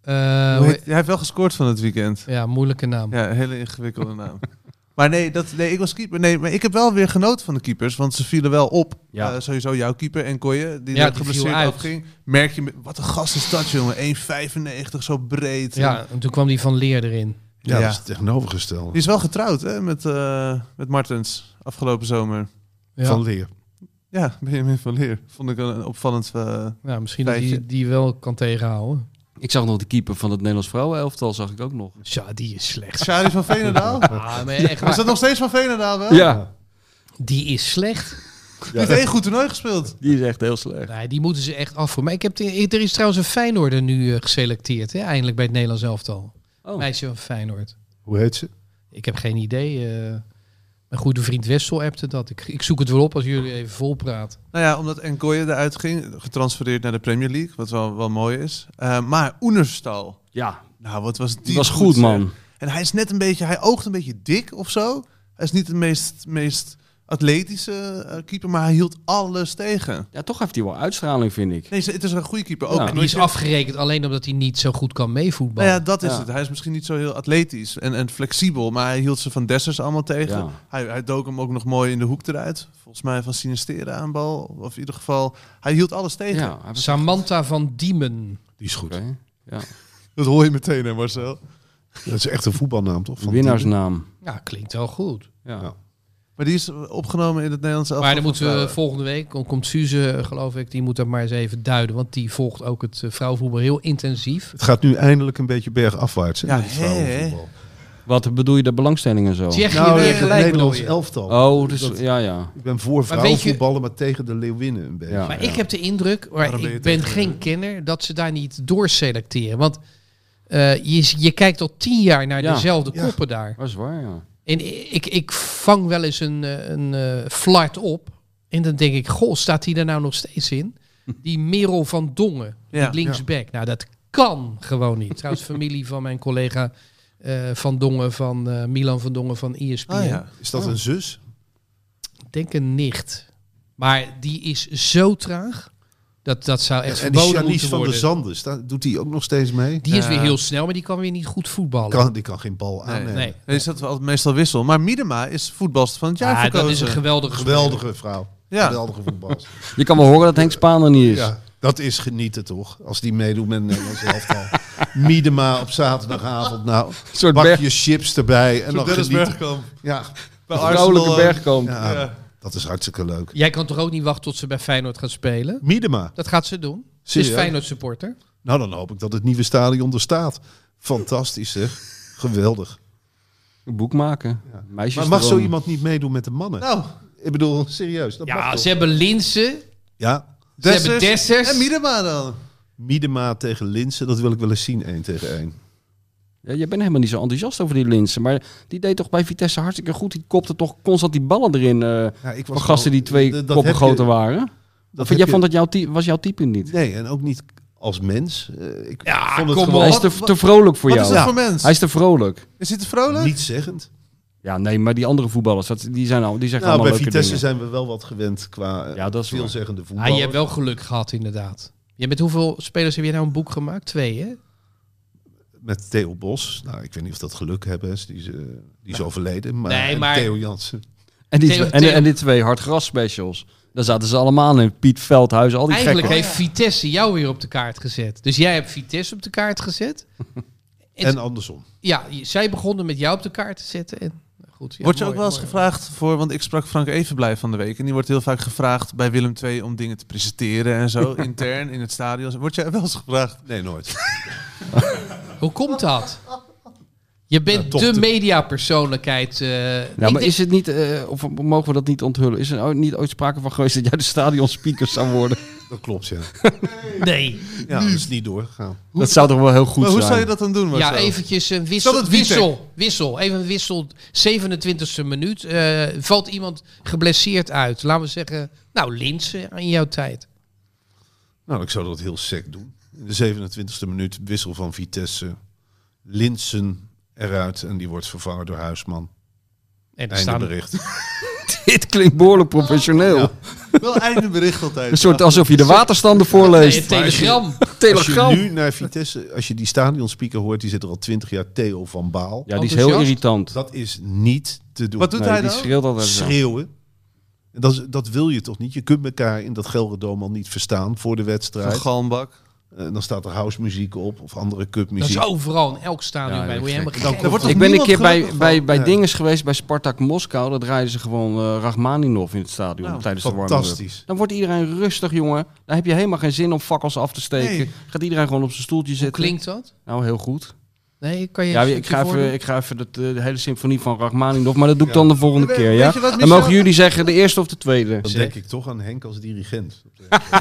Speaker 6: Eh,
Speaker 4: Hoe heet- hij heeft wel gescoord van het weekend.
Speaker 6: ja, moeilijke naam.
Speaker 4: Ja, een hele ingewikkelde naam. Maar nee, dat, nee, ik was keeper. Nee, maar ik heb wel weer genoten van de keepers, want ze vielen wel op.
Speaker 5: Ja.
Speaker 4: Eh, sowieso jouw keeper en Koye, die
Speaker 6: Ja,
Speaker 4: net
Speaker 6: die viel
Speaker 4: geblesseerd
Speaker 6: uit.
Speaker 4: afging. Merk je, met- wat een gast is dat, jongen. 1,95, zo breed.
Speaker 6: Ja, en toen kwam die van Leer erin.
Speaker 2: Ja,
Speaker 4: Ja.
Speaker 2: dat is het tegenovergestelde.
Speaker 4: Die is wel getrouwd, hè, met, eh, met Martens, afgelopen zomer.
Speaker 2: van
Speaker 6: Ja,
Speaker 2: leer.
Speaker 4: Ja, Benjamin van Leer. Vond ik een een opvallend... eh,
Speaker 6: ja, nou, misschien dat
Speaker 4: Feitje.
Speaker 6: hij die wel kan tegenhouden.
Speaker 5: Ik zag nog de keeper van het Nederlands vrouwenelftal, zag ik ook nog.
Speaker 6: Ja, die is slecht.
Speaker 4: Shari van Veenendaal?
Speaker 6: Ah, maar echt
Speaker 4: Is
Speaker 6: waar.
Speaker 4: dat nog steeds van Veenendaal wel?
Speaker 5: Ja,
Speaker 6: Die is slecht.
Speaker 4: Die heeft één goed toernooi gespeeld.
Speaker 5: die is echt heel slecht.
Speaker 6: Nee, die moeten ze echt af voor. Maar ik heb de- er is trouwens een Feyenoorder nu eh, geselecteerd. Hè? Eindelijk bij het Nederlands elftal.
Speaker 5: Oh.
Speaker 6: Meisje van Feyenoord.
Speaker 2: Hoe heet ze?
Speaker 6: Ik heb geen idee. eh, mijn goede vriend Wessel appte dat. Ik, ik zoek het wel op als jullie even volpraten.
Speaker 4: Nou ja, omdat Enkoye eruit ging, getransfereerd naar de Premier League, wat wel, wel mooi is. Eh, maar Oenerstal,
Speaker 5: Ja,
Speaker 4: nou wat was die
Speaker 5: die was goed,
Speaker 4: zeg.
Speaker 5: man.
Speaker 4: En hij is net een beetje, hij oogt een beetje dik of zo. Hij is niet de meest, meest atletische eh, keeper, maar hij hield alles tegen.
Speaker 5: Ja, toch heeft hij wel uitstraling, vind ik.
Speaker 4: Nee, ze- het is een goede keeper ook.
Speaker 5: Ja.
Speaker 6: En die is afgerekend alleen omdat hij niet zo goed kan
Speaker 4: Nou
Speaker 6: meevoetballen.
Speaker 4: ja, dat is
Speaker 5: Ja.
Speaker 4: het. Hij is misschien niet zo heel atletisch en, en flexibel, maar hij hield ze van Dessers allemaal tegen.
Speaker 5: Ja.
Speaker 4: Hij, hij dook hem ook nog mooi in de hoek eruit. Volgens mij van Sinistera aan bal, of in ieder geval, hij hield alles tegen.
Speaker 5: Ja, hij was-
Speaker 6: Samantha van Diemen.
Speaker 2: Die is goed.
Speaker 5: Oké.
Speaker 4: Dat hoor je meteen hè Marcel.
Speaker 2: Dat is echt een voetbalnaam, toch? Van
Speaker 5: Winnaarsnaam.
Speaker 6: Ja, klinkt wel goed.
Speaker 5: Ja.
Speaker 2: Ja.
Speaker 4: Maar die is opgenomen in het Nederlandse elftal.
Speaker 6: Maar dan
Speaker 4: voor
Speaker 6: moeten we
Speaker 4: vrouwen.
Speaker 6: volgende week, dan komt Suze, eh, geloof ik, die moet dat maar eens even duiden. Want die volgt ook het eh, vrouwenvoetbal heel intensief.
Speaker 2: Het gaat nu eindelijk een beetje bergafwaarts. Hè,
Speaker 4: Ja,
Speaker 2: met het
Speaker 4: hè, hè.
Speaker 2: vrouwenvoetbal.
Speaker 5: Wat bedoel je, de belangstellingen zo?
Speaker 6: Tsjechië
Speaker 2: Nou,
Speaker 6: weer
Speaker 2: het
Speaker 6: gelijk bedoel
Speaker 2: Nederlands
Speaker 6: je.
Speaker 2: elftal.
Speaker 5: Oh, dus,
Speaker 2: Dat-
Speaker 5: ja, ja.
Speaker 2: Ik ben voor
Speaker 6: Maar weet je-
Speaker 2: vrouwenvoetballen, maar tegen de Leeuwinnen een beetje.
Speaker 5: Ja.
Speaker 6: Maar ik heb de indruk, maar
Speaker 4: Waarom ben je
Speaker 6: ik ben
Speaker 4: tegen,
Speaker 6: geen kenner, dat ze daar niet doorselecteren. Want eh, je, je kijkt al tien jaar naar
Speaker 5: Ja.
Speaker 6: dezelfde
Speaker 2: Ja.
Speaker 6: koppen daar.
Speaker 5: Dat is waar, ja.
Speaker 6: En ik, ik vang wel eens een, eh, een eh, flart op. En dan denk ik, goh, staat hij er nou nog steeds in? Die Merel van Dongen,
Speaker 4: Ja,
Speaker 6: die linksback. Nou, dat kan gewoon niet. Trouwens, familie van mijn collega eh, Van Dongen, van eh, Milan van Dongen van E ESPN.
Speaker 4: Ah, ja.
Speaker 2: Is
Speaker 6: Oh.
Speaker 2: dat een zus?
Speaker 6: Ik denk een nicht. Maar die is zo traag. Dat, dat zou echt
Speaker 2: en die
Speaker 6: verboden
Speaker 2: Janice
Speaker 6: moeten
Speaker 2: van der
Speaker 6: worden.
Speaker 2: Zandes, daar doet hij ook nog steeds mee?
Speaker 6: Die is weer
Speaker 4: Ja.
Speaker 6: heel snel, maar die kan weer niet goed voetballen.
Speaker 2: Kan, die kan geen bal
Speaker 4: Ah, Nee,
Speaker 2: aannemen.
Speaker 6: nee.
Speaker 4: Nee, is dat we altijd meestal wissel. Maar Miedema is voetbalster van het jaar
Speaker 6: Ja,
Speaker 4: verkozen.
Speaker 6: Ah, dat is een geweldige
Speaker 2: Geweldige vrouw.
Speaker 4: Ja.
Speaker 2: Geweldige voetbalster.
Speaker 5: Je kan wel horen dat Henk Spaan er niet is.
Speaker 2: Ja, dat is genieten toch? Als die meedoet met Nederlands elftal. Miedema op zaterdagavond. Nou,
Speaker 5: Een soort berg,
Speaker 2: bakje chips erbij. En
Speaker 4: Zo'n
Speaker 2: dan
Speaker 4: Dennis
Speaker 2: genieten.
Speaker 4: Bergkamp.
Speaker 2: Ja,
Speaker 4: Bij
Speaker 5: vrouwelijke
Speaker 4: eh,
Speaker 5: bergkamp.
Speaker 2: ja,
Speaker 4: Ja.
Speaker 2: dat is hartstikke leuk.
Speaker 6: Jij kan toch ook niet wachten tot ze bij Feyenoord gaat spelen?
Speaker 2: Miedema.
Speaker 6: Dat gaat ze doen. Ze is
Speaker 2: Serieus?
Speaker 6: Feyenoord supporter.
Speaker 2: Nou, dan hoop ik dat het nieuwe stadion er staat. Fantastisch zeg. Geweldig.
Speaker 5: Een boek maken. Meisjes
Speaker 2: Maar mag
Speaker 5: er
Speaker 2: zo
Speaker 5: wonen.
Speaker 2: iemand niet meedoen met de mannen?
Speaker 4: Nou,
Speaker 2: Ik bedoel, serieus. Dat mag
Speaker 6: Ja,
Speaker 2: toch?
Speaker 6: ze hebben Linsen.
Speaker 2: ja.
Speaker 6: Ze hebben Dessers.
Speaker 4: En Miedema dan.
Speaker 2: Miedema tegen Linsen, dat wil ik wel eens zien, één tegen één.
Speaker 5: Ja, je bent helemaal niet zo enthousiast over die Linsen. Maar die deed toch bij Vitesse hartstikke goed. Die kopte toch constant die ballen erin. eh,
Speaker 2: Ja, ik
Speaker 5: van gasten die twee
Speaker 2: dat- dat
Speaker 5: koppen
Speaker 2: heb je-
Speaker 5: groter waren.
Speaker 2: heb
Speaker 5: Of jij
Speaker 2: je-
Speaker 5: vond dat jouw ty- was jouw type niet?
Speaker 2: Nee, en ook niet als mens. Eh, ik
Speaker 6: Ja,
Speaker 2: vond het
Speaker 6: kom
Speaker 2: gewoon
Speaker 5: Hij is
Speaker 4: Wat-
Speaker 5: te,
Speaker 4: wat-
Speaker 5: te vrolijk voor
Speaker 4: Wat is
Speaker 5: jou.
Speaker 4: dat
Speaker 2: Ja.
Speaker 4: voor mens?
Speaker 5: Hij is te vrolijk.
Speaker 4: Is hij te vrolijk?
Speaker 2: niet zeggend.
Speaker 5: Ja, nee, maar die andere voetballers, dat, die, zijn al, die zeggen
Speaker 2: Nou, bij
Speaker 5: allemaal leuke
Speaker 2: Vitesse
Speaker 5: dingen.
Speaker 2: zijn we wel wat gewend qua eh,
Speaker 5: Ja, dat is waar.
Speaker 2: veelzeggende
Speaker 6: Ah,
Speaker 2: voetbal.
Speaker 6: je hebt wel geluk gehad, inderdaad. Je met hoeveel spelers heb je nou een boek gemaakt? Twee, hè?
Speaker 2: Met Theo Bos. Nou, ik weet niet of dat geluk hebben is. Die is, eh, die is overleden. Maar,
Speaker 6: Nee,
Speaker 2: en
Speaker 6: maar-
Speaker 2: Theo Jansen.
Speaker 5: En die,
Speaker 6: Theo-
Speaker 5: en,
Speaker 6: Theo-
Speaker 5: en die twee hardgras specials. Daar zaten ze allemaal in. Piet Veldhuis, al die
Speaker 6: Eigenlijk
Speaker 2: Oh,
Speaker 5: gekken.
Speaker 6: heeft Vitesse jou weer op de kaart gezet. Dus jij hebt Vitesse op de kaart gezet.
Speaker 2: En,
Speaker 6: En-
Speaker 2: andersom.
Speaker 6: Ja, je- zij begonnen met jou op de kaart te zetten. En, nou goed, ja,
Speaker 4: Word je
Speaker 6: mooi,
Speaker 4: ook wel eens
Speaker 6: mooi.
Speaker 4: gevraagd voor, want ik sprak Frank Evenblij van de week en die wordt heel vaak gevraagd bij Willem II om dingen te presenteren en zo, intern in het stadion. Word jij wel eens gevraagd?
Speaker 2: Nee, nooit.
Speaker 6: Hoe komt dat? Je bent
Speaker 2: toch
Speaker 6: de
Speaker 2: te-
Speaker 6: mediapersoonlijkheid. eh, ik
Speaker 5: Nou, maar
Speaker 6: denk-
Speaker 5: is het niet, eh, of mogen we dat niet onthullen? Is er ooit- niet ooit sprake van geweest dat jij de stadionspeaker zou worden?
Speaker 2: Dat klopt, ja.
Speaker 6: Nee.
Speaker 2: Ja, dat is niet doorgegaan.
Speaker 5: dat zou toch wel heel goed
Speaker 4: maar hoe
Speaker 5: zijn?
Speaker 4: zou je dat dan doen, Marcel?
Speaker 6: Ja, eventjes een
Speaker 4: Zal
Speaker 6: wissel.
Speaker 4: het Witek?
Speaker 6: Wissel, wissel. Even een wissel. 27e minuut. eh, valt iemand geblesseerd uit? Laten we zeggen, nou, Linsen in jouw tijd.
Speaker 2: Nou, ik zou dat heel sec doen. In de 27e minuut wissel van Vitesse. Linsen eruit. En die wordt vervangen door Huisman.
Speaker 6: En er
Speaker 2: Einde
Speaker 6: staan
Speaker 2: bericht.
Speaker 5: Dit klinkt behoorlijk professioneel.
Speaker 4: Wel einde bericht altijd.
Speaker 5: Een soort alsof je de waterstanden voorleest.
Speaker 6: Nee, een telegram.
Speaker 5: Telegram.
Speaker 2: Als je nu naar Vitesse, als je die stadionspeaker hoort, die zit er al 20 jaar Theo van Baal.
Speaker 5: Ja, die is heel
Speaker 6: Enthousiast?
Speaker 5: irritant.
Speaker 2: Dat is niet te doen. Nou,
Speaker 4: Wat doet
Speaker 5: Nee,
Speaker 4: hij
Speaker 5: die
Speaker 4: dan?
Speaker 5: schreeuwt altijd zo.
Speaker 2: Schreeuwen. En dat, is- dat wil je toch niet? Je kunt elkaar in dat Gelredome al niet verstaan voor de
Speaker 4: Een
Speaker 2: wedstrijd.
Speaker 4: galmbak.
Speaker 2: Eh, dan staat er housemuziek op of andere
Speaker 6: Dat
Speaker 2: cupmuziek.
Speaker 6: is overal in elk stadion
Speaker 5: Ja,
Speaker 6: bij.
Speaker 5: dat
Speaker 6: Word je
Speaker 5: is
Speaker 6: helemaal
Speaker 5: gek.
Speaker 6: gek.
Speaker 4: Er wordt toch
Speaker 5: Ik ben een
Speaker 4: niemand
Speaker 5: keer bij,
Speaker 4: gelukkig
Speaker 5: bij,
Speaker 4: van?
Speaker 5: bij
Speaker 2: Ja.
Speaker 5: dinges geweest, bij Spartak Moskou. Dat draaiden ze gewoon eh, Rachmaninov in het stadion
Speaker 4: Nou,
Speaker 5: tijdens de warm-up.
Speaker 2: Fantastisch.
Speaker 5: Dan wordt iedereen rustig, jongen. Dan heb je helemaal geen zin om fakkels af te steken.
Speaker 4: Nee.
Speaker 5: Gaat iedereen gewoon op zijn stoeltje
Speaker 6: Hoe
Speaker 5: zitten.
Speaker 6: klinkt dat?
Speaker 5: Nou, heel goed.
Speaker 6: Nee, kan je
Speaker 5: Ja,
Speaker 6: een
Speaker 5: ik
Speaker 6: stukje
Speaker 5: ga even,
Speaker 6: voordoen?
Speaker 5: ik ga even dat, eh, de hele symfonie van Rachmaninov, maar dat doe ik dan de volgende
Speaker 4: Weet-
Speaker 5: keer,
Speaker 4: weet
Speaker 5: ja?
Speaker 4: je wat,
Speaker 5: Dan
Speaker 4: Michel?
Speaker 5: mogen jullie zeggen de eerste of de tweede.
Speaker 2: Dan denk ik toch aan Henk als dirigent.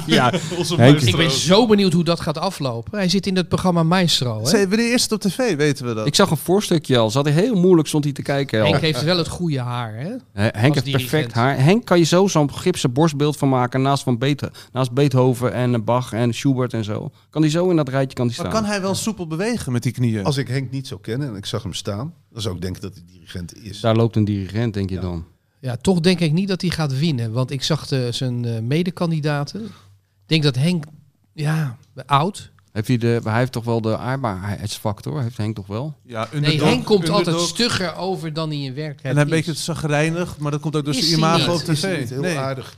Speaker 5: Ja,
Speaker 4: Onze
Speaker 5: Henk,
Speaker 4: maestro.
Speaker 6: Ik ben zo benieuwd hoe dat gaat aflopen. Hij zit in het programma Maestro. Hè?
Speaker 4: Zij- Oh, Wanneer is het op tv, weten we dat?
Speaker 5: ik zag een voorstukje al. Zat hij heel moeilijk, stond hij te kijken. al.
Speaker 6: Henk heeft wel het goede haar. Hè?
Speaker 5: Hè, Henk
Speaker 6: Als
Speaker 5: heeft perfect
Speaker 6: dirigent.
Speaker 5: haar. Henk kan je zo zo'n gipsen borstbeeld van maken naast, van Beethoven, naast Beethoven en eh, Bach en Schubert en zo. Kan die zo in dat rijtje kan die
Speaker 4: maar
Speaker 5: staan.
Speaker 4: kan hij wel soepel bewegen met die knieën?
Speaker 2: Als ik Henk niet zou kennen en ik zag hem staan, dan zou ik denken dat hij dirigent is.
Speaker 5: Daar loopt een dirigent, denk je dan.
Speaker 6: Ja, toch denk ik niet dat hij gaat winnen. Want ik zag de, zijn eh, medekandidaten. Ik denk dat Henk, ja, oud.
Speaker 5: Heeft hij, de, hij heeft toch wel de aardbaarheidsfactor? Heeft Henk toch wel?
Speaker 4: Ja,
Speaker 6: Nee,
Speaker 4: underdog,
Speaker 6: Henk komt
Speaker 4: underdog.
Speaker 6: altijd stugger over dan hij in werkelijkheid
Speaker 4: En hij
Speaker 6: is.
Speaker 4: beetje zagrijnig, maar dat komt ook door
Speaker 6: Is
Speaker 4: zijn
Speaker 6: hij
Speaker 4: imago
Speaker 6: niet.
Speaker 4: op
Speaker 2: Is hij
Speaker 4: tv.
Speaker 2: niet heel
Speaker 4: Nee.
Speaker 2: aardig.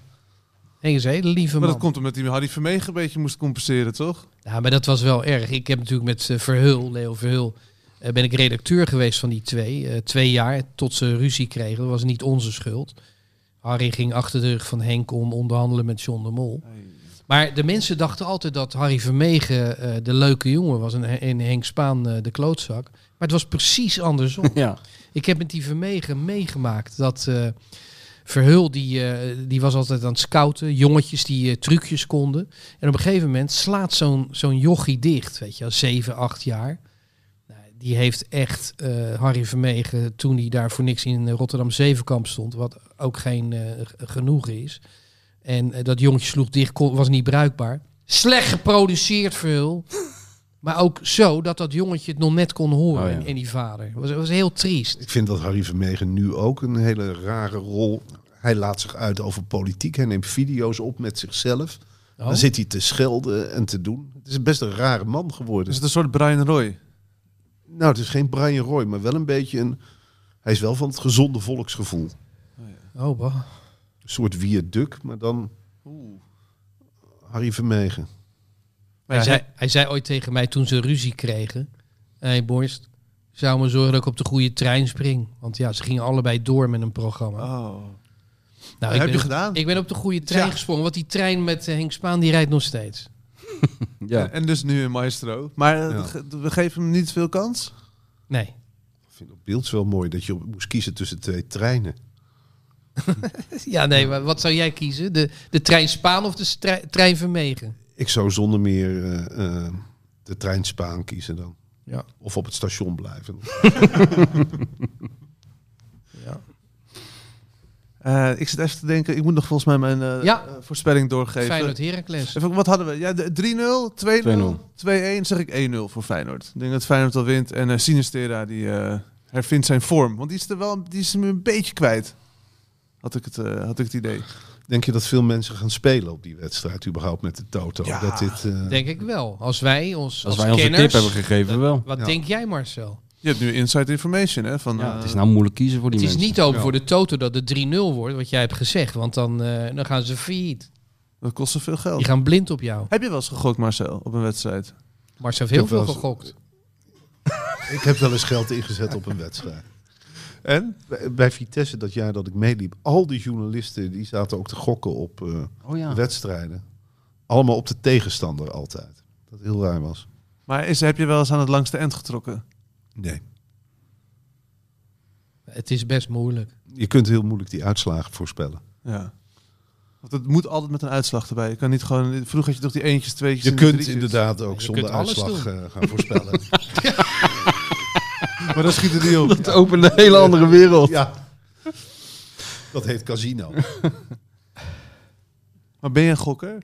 Speaker 6: Henk is een hele lieve
Speaker 4: Maar
Speaker 6: man.
Speaker 4: dat komt omdat hij Harry Vermegen een beetje moest compenseren, toch?
Speaker 6: Ja, maar dat was wel erg. Ik heb natuurlijk met eh, Verhul, Leo Verhul, eh, ben ik redacteur geweest van die twee. eh, twee jaar tot ze ruzie kregen. Dat was niet onze schuld. Harry ging achter de rug van Henk om onderhandelen met John de Mol. Maar de mensen dachten altijd dat Harry Vermegen eh, de leuke jongen was en, en Henk Spaan eh, de klootzak. Maar het was precies andersom.
Speaker 5: Ja.
Speaker 6: Ik heb met die Vermegen meegemaakt dat eh, Verhul, die, eh, die was altijd aan het scouten. Jongetjes die eh, trucjes konden. En op een gegeven moment slaat zo'n zo'n jochie dicht, weet je wel, zeven, acht jaar. Nou, Die heeft echt eh, Harry Vermegen, toen hij daar voor niks in Rotterdam Zevenkamp stond, wat ook geen eh, g- genoegen is. En eh, dat jongetje sloeg dicht, kon- was niet bruikbaar. Slecht geproduceerd, Verhul. Maar ook zo dat dat jongetje het nog net kon horen
Speaker 5: Oh ja.
Speaker 6: en- en die vader. Het was, was heel triest.
Speaker 2: Ik vind dat Harry Vermegen nu ook een hele rare rol. Hij laat zich uit over politiek. Hij neemt video's op met zichzelf.
Speaker 6: Oh.
Speaker 2: Dan zit hij te schelden en te doen. Het is best een rare man geworden.
Speaker 4: Is Dus het een soort Brian Roy?
Speaker 2: Nou, het is geen Brian Roy, maar wel een beetje een... Hij is wel van het gezonde volksgevoel.
Speaker 6: Oh, bah.
Speaker 2: Een soort viaduct, maar dan Harry Vermegen.
Speaker 4: Maar
Speaker 6: hij,
Speaker 4: ja,
Speaker 6: zei, hij zei ooit tegen mij toen ze ruzie kregen: Hé, hey, Borst, zou maar zorgen dat ik op de goede trein spring. Want ja, ze gingen allebei door met een programma.
Speaker 4: Oh.
Speaker 6: nou,
Speaker 4: heb
Speaker 6: ben
Speaker 4: je
Speaker 6: op-
Speaker 4: gedaan?
Speaker 6: Ik ben op de goede trein
Speaker 4: Ja.
Speaker 6: gesprongen, want die trein met eh, Henk Spaan die rijdt nog steeds.
Speaker 5: ja.
Speaker 4: En dus nu in Maestro. Maar eh,
Speaker 2: Ja.
Speaker 4: ge- we geven hem niet veel kans?
Speaker 6: Nee.
Speaker 2: Ik vind op beeld wel mooi dat je op- moest kiezen tussen twee treinen.
Speaker 6: Ja, nee, maar wat zou jij kiezen? De, de trein Spaan of de strei- trein Vermegen?
Speaker 2: Ik zou zonder meer eh, eh, de trein Spaan kiezen dan.
Speaker 6: Ja.
Speaker 2: Of op het station blijven.
Speaker 4: Eh, ik zit even te denken, ik moet nog volgens mij mijn eh,
Speaker 6: Ja.
Speaker 4: eh, voorspelling doorgeven.
Speaker 6: Feyenoord Heracles.
Speaker 4: Even, wat hadden we? Ja, de- 3-0, 2-0, 2-1. Zeg ik 1-0 voor Feyenoord. Ik denk dat Feyenoord al wint. En eh Sinistera die eh, hervindt zijn vorm. Want die is, er wel, die is hem een beetje kwijt. Had ik het, eh, had ik het idee.
Speaker 2: Denk je dat veel mensen gaan spelen op die wedstrijd überhaupt met de Toto?
Speaker 4: Ja,
Speaker 2: dat dit, eh,
Speaker 6: Denk ik wel. Als wij ons als,
Speaker 5: Als wij onze
Speaker 6: kenners,
Speaker 5: tip hebben gegeven, wel.
Speaker 6: Wat
Speaker 2: Ja.
Speaker 6: denk jij, Marcel?
Speaker 4: Je hebt nu inside information, hè? Van,
Speaker 5: Ja,
Speaker 4: eh,
Speaker 5: het is nou moeilijk kiezen voor die
Speaker 6: Het is
Speaker 5: mensen.
Speaker 6: niet open
Speaker 2: Ja.
Speaker 6: voor de Toto dat het 3-0 wordt, wat jij hebt gezegd. Want dan, eh, dan gaan ze failliet.
Speaker 4: Dat kost zoveel geld.
Speaker 6: Die gaan blind op jou.
Speaker 4: Heb je wel eens gegokt, Marcel, op een wedstrijd?
Speaker 6: Marcel heeft heel
Speaker 2: Ik heb
Speaker 6: veel
Speaker 2: wel
Speaker 6: gegokt.
Speaker 2: Ik heb wel eens geld ingezet op een wedstrijd.
Speaker 4: En?
Speaker 2: Bij, bij Vitesse dat jaar dat ik meeliep, al die journalisten die zaten ook te gokken op eh,
Speaker 5: Oh ja.
Speaker 2: wedstrijden. Allemaal op de tegenstander altijd. Dat heel raar was.
Speaker 4: Maar is, heb je wel eens aan het langste end getrokken?
Speaker 2: Nee.
Speaker 6: Het is best moeilijk.
Speaker 2: Je kunt heel moeilijk die uitslagen voorspellen.
Speaker 4: Ja. Want het moet altijd met een uitslag erbij. Je kan niet gewoon... Vroeger had je toch die eentjes, tweetjes...
Speaker 2: Je
Speaker 4: en
Speaker 2: kunt
Speaker 4: drietjes.
Speaker 2: inderdaad ook
Speaker 6: Je
Speaker 2: zonder
Speaker 6: kunt alles
Speaker 2: uitslag eh, gaan voorspellen.
Speaker 4: Maar dan schiet het niet op.
Speaker 5: Het opent een hele andere wereld.
Speaker 2: ja. Dat heet casino.
Speaker 4: Maar ben je een gokker?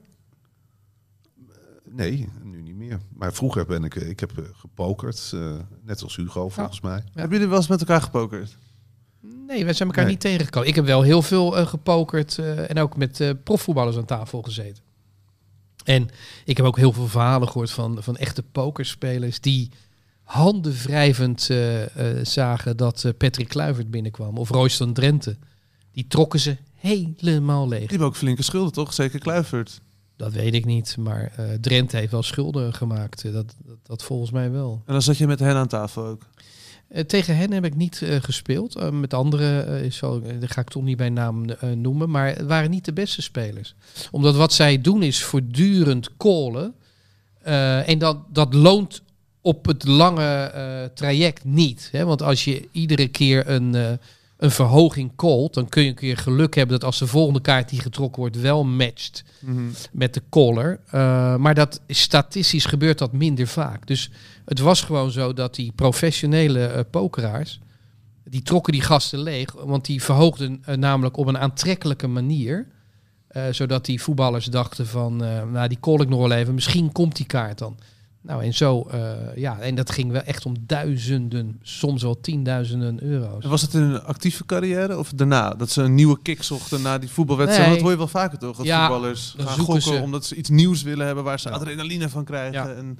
Speaker 2: Nee, nu niet meer. Maar vroeger ben ik, eh, ik heb eh, gepokerd, eh, net als
Speaker 6: Oh.
Speaker 2: Hugo volgens mij.
Speaker 6: Ja.
Speaker 4: Hebben jullie wel eens met elkaar gepokerd?
Speaker 6: Nee, wij zijn elkaar
Speaker 2: Nee.
Speaker 6: niet tegengekomen. Ik heb wel heel veel eh, gepokerd eh, en ook met eh, profvoetballers aan tafel gezeten. En ik heb ook heel veel verhalen gehoord van, van echte pokerspelers die handenwrijvend eh, eh, zagen dat eh, Patrick Kluivert binnenkwam of Royston Drenthe. Die trokken ze helemaal leeg.
Speaker 4: Die hebben ook flinke schulden, toch? Zeker Kluivert.
Speaker 6: Dat weet ik niet, maar eh, Drenthe heeft wel schulden gemaakt. Eh, Dat, dat, dat volgens mij wel.
Speaker 4: En dan zat je met hen aan tafel ook.
Speaker 6: Eh, tegen hen heb ik niet eh, gespeeld. Eh, met anderen eh, is zo, daar ga ik toch niet bij naam eh, noemen. Maar het waren niet de beste spelers. Omdat wat zij doen is voortdurend callen. Eh, en dat, dat loont op het lange eh, traject niet. Hè? Want als je iedere keer een, eh, een verhoging callt... dan kun je een keer geluk hebben dat als de volgende kaart die getrokken wordt... wel matcht
Speaker 4: Mhm.
Speaker 6: met de caller. Eh, maar dat, statistisch gebeurt dat minder vaak. Dus het was gewoon zo dat die professionele eh, pokeraars... die trokken die gasten leeg. Want die verhoogden eh, namelijk op een aantrekkelijke manier... eh, zodat die voetballers dachten van... eh, nou, die call ik nog wel even. Misschien komt die kaart dan. Nou, en zo... eh, ja, en dat ging wel echt om duizenden... soms wel tienduizenden euro's.
Speaker 4: En was het in een actieve carrière of daarna? Dat ze een nieuwe kick zochten na die voetbalwedstrijd?
Speaker 6: Nee.
Speaker 4: Dat hoor je wel vaker toch? Dat
Speaker 6: Ja,
Speaker 4: voetballers
Speaker 6: dan
Speaker 4: gaan
Speaker 6: zoeken
Speaker 4: gokken
Speaker 6: ze-
Speaker 4: omdat ze iets nieuws willen hebben waar ze
Speaker 6: Ja.
Speaker 4: adrenaline van krijgen.
Speaker 6: Ja.
Speaker 4: En,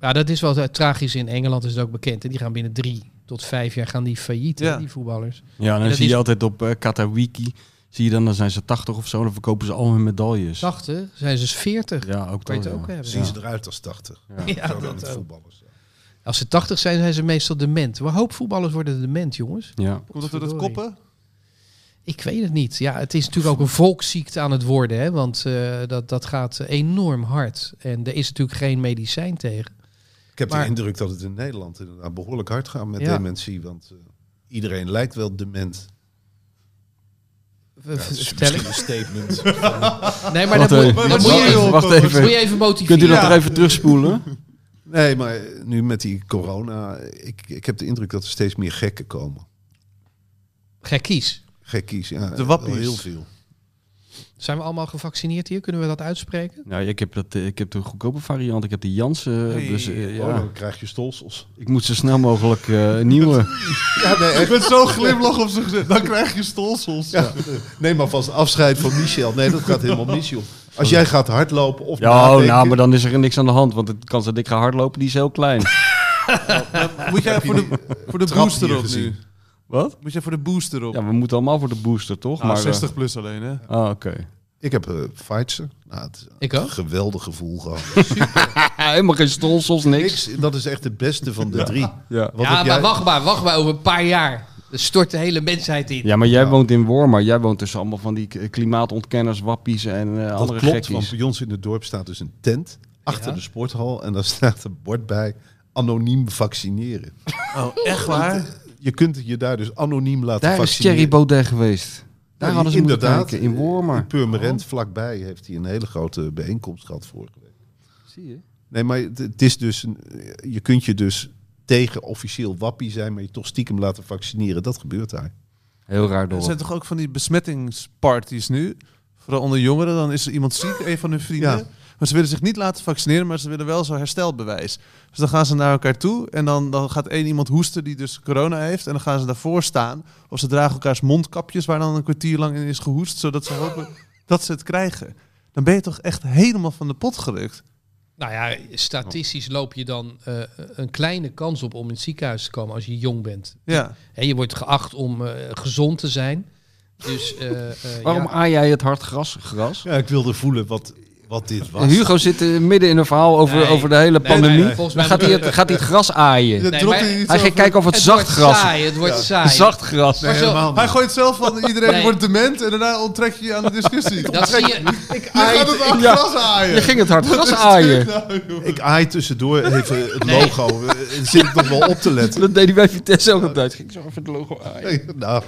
Speaker 6: Ja, dat is wel eh, tragisch. In Engeland is het ook bekend. En die gaan binnen drie tot vijf jaar gaan die failliet, hè,
Speaker 4: Ja.
Speaker 6: die voetballers.
Speaker 5: Ja, dan
Speaker 6: dat
Speaker 5: zie
Speaker 6: is-
Speaker 5: je altijd op eh Katawiki. Zie je dan, dan zijn ze 80 of zo. Dan verkopen ze al hun medailles.
Speaker 6: 80 zijn ze 40.
Speaker 5: Ja, ook
Speaker 6: Kan je
Speaker 5: dat.
Speaker 6: het ook
Speaker 5: Oh, ja.
Speaker 6: hebben.
Speaker 2: Zien ze eruit als 80.
Speaker 5: Ja.
Speaker 6: Ja,
Speaker 2: Zo
Speaker 6: dat
Speaker 2: dat het
Speaker 6: ook.
Speaker 2: voetballers. zijn.
Speaker 6: Als ze 80 zijn, zijn ze meestal dement. Maar een hoop voetballers worden dement, jongens.
Speaker 5: Ja.
Speaker 4: komt dat door dat
Speaker 6: Potverdorie.
Speaker 4: koppen?
Speaker 6: Ik weet het niet. Ja, het is natuurlijk ook een volksziekte aan het worden. Hè? Want eh, dat, dat gaat enorm hard. En er is natuurlijk geen medicijn tegen.
Speaker 2: Ik heb
Speaker 6: Maar-
Speaker 2: de indruk dat het in Nederland inderdaad behoorlijk hard gaat met
Speaker 6: Ja.
Speaker 2: dementie. Want eh, iedereen lijkt wel dement.
Speaker 6: V-
Speaker 2: Ja, dat is
Speaker 6: Vertel ik.
Speaker 2: misschien een statement.
Speaker 6: Nee, maar
Speaker 5: Wacht
Speaker 6: dat moet,
Speaker 5: even,
Speaker 6: dat
Speaker 4: wat
Speaker 6: moet,
Speaker 4: doe je,
Speaker 6: je,
Speaker 4: joh?
Speaker 5: Wacht
Speaker 6: dat moet
Speaker 5: even.
Speaker 6: je even motiveren.
Speaker 5: Kunt u dat
Speaker 4: Ja.
Speaker 5: er even terugspoelen?
Speaker 2: nee, maar eh, nu met die corona. Ik, ik heb de indruk dat er steeds meer gekken komen.
Speaker 6: Gekkies.
Speaker 2: Gekkies, ja.
Speaker 4: De wappies.
Speaker 2: wel Heel veel.
Speaker 6: Zijn we allemaal gevaccineerd hier? Kunnen we dat uitspreken?
Speaker 5: Nou, ik heb, dat, eh, ik heb de goedkope variant. Ik heb de Jansen.
Speaker 4: Hey,
Speaker 5: dus, eh,
Speaker 2: Oh,
Speaker 5: ja.
Speaker 2: dan krijg je stolsels.
Speaker 5: Ik moet zo snel mogelijk eh, een nieuwe.
Speaker 2: Ja, nee, echt.
Speaker 4: Met zo'n glimlach op zijn gezicht. Dan krijg je stolsels.
Speaker 2: Ja, neem maar vast afscheid van Michel. Nee, dat gaat helemaal niet om. Als jij gaat hardlopen of
Speaker 5: Ja, oh,
Speaker 2: nadenken,
Speaker 5: nou, maar dan is er niks aan de hand. Want het kans dat ik ga hardlopen, die is heel klein.
Speaker 4: Moet jij voor de, voor de
Speaker 2: trap
Speaker 4: booster
Speaker 2: hier
Speaker 4: op
Speaker 2: gezien?
Speaker 4: nu?
Speaker 5: Wat?
Speaker 4: Moet jij voor de booster op?
Speaker 5: Ja, we moeten allemaal voor de booster, toch?
Speaker 4: Nou,
Speaker 5: maar, eh,
Speaker 4: 60 plus alleen hè?
Speaker 5: ah, oké.
Speaker 2: ik heb eh Pfizer. Nou, het is
Speaker 6: Ik
Speaker 2: een
Speaker 6: ook.
Speaker 2: geweldig gevoel gehad.
Speaker 5: helemaal geen stolsels, niks.
Speaker 2: Niks, dat is echt het beste van de drie.
Speaker 5: Ja.
Speaker 2: Wat
Speaker 6: ja,
Speaker 2: heb
Speaker 6: maar
Speaker 2: jij-
Speaker 6: wacht maar, wacht maar. Over een paar jaar Dan stort de hele mensheid in.
Speaker 5: ja, maar jij woont in Wormer. Jij woont tussen allemaal van die k- klimaatontkenners, wappies en eh,
Speaker 2: Dat
Speaker 5: andere
Speaker 2: klopt, want
Speaker 5: gekkies.
Speaker 2: bij ons in het dorp staat dus een tent achter
Speaker 6: Ja.
Speaker 2: de sporthal en daar staat een bord bij anoniem vaccineren.
Speaker 4: Oh, echt waar?
Speaker 2: Je kunt je daar dus anoniem laten
Speaker 5: Daar is
Speaker 2: vaccineren.
Speaker 5: Thierry Baudet geweest. Daar
Speaker 2: Nou,
Speaker 5: hadden ze moeten
Speaker 2: inderdaad,
Speaker 5: kijken, in
Speaker 2: In
Speaker 5: Wormer.
Speaker 2: Purmerend vlakbij heeft hij een hele grote bijeenkomst gehad vorige week.
Speaker 5: Zie je?
Speaker 2: Nee, maar het, het is dus een, je kunt je dus tegen officieel wappie zijn, maar je toch stiekem laten vaccineren. Dat gebeurt daar.
Speaker 5: Heel raar
Speaker 4: Er zijn
Speaker 5: door.
Speaker 4: toch ook van die besmettingsparties nu? Vooral onder jongeren, dan is er iemand ziek, een van hun vrienden.
Speaker 2: Ja.
Speaker 4: Maar ze willen zich niet laten vaccineren, maar ze willen wel zo'n herstelbewijs. Dus dan gaan ze naar elkaar toe en dan, dan gaat één iemand hoesten die dus corona heeft. En dan gaan ze daarvoor staan. Of ze dragen elkaars mondkapjes waar dan een kwartier lang in is gehoest, zodat ze hopen dat ze het krijgen. Dan ben je toch echt helemaal van de pot gerukt.
Speaker 6: Nou ja, statistisch loop je dan eh, een kleine kans op om in het ziekenhuis te komen als je jong bent.
Speaker 4: Ja.
Speaker 6: Hè, je wordt geacht om eh, gezond te zijn. Dus, eh, eh,
Speaker 5: Waarom
Speaker 6: ja.
Speaker 5: aai jij het hard gras? gras?
Speaker 2: Ja, ik wilde voelen wat, wat dit
Speaker 5: En Hugo zit eh, midden in een verhaal over,
Speaker 6: Nee.
Speaker 5: over de hele
Speaker 6: Nee, nee,
Speaker 5: pandemie.
Speaker 6: nee, volgens
Speaker 5: Dan
Speaker 6: mij
Speaker 5: gaat hij, het,
Speaker 6: moet-
Speaker 5: gaat hij het gras aaien.
Speaker 6: Nee, maar
Speaker 5: Hij gaat kijken of het,
Speaker 6: het
Speaker 5: zacht
Speaker 6: wordt
Speaker 5: gras
Speaker 6: saai, het wordt saai.
Speaker 5: Zacht gras.
Speaker 6: Maar zo-
Speaker 4: Hij gooit zelf van iedereen
Speaker 6: Nee.
Speaker 4: wordt dement en daarna onttrek je je aan de discussie.
Speaker 6: dat zie je,
Speaker 4: Je gaat het aan
Speaker 5: Ja.
Speaker 4: gras aaien. Nou,
Speaker 5: Je ging het hard gras aaien.
Speaker 2: Ik aai tussendoor even het logo. Eh, Zit ik nog wel op te letten?
Speaker 5: Dat deed hij bij Vitesse ook op tijd. Ging zo even het logo aaien.
Speaker 2: Nee, nou,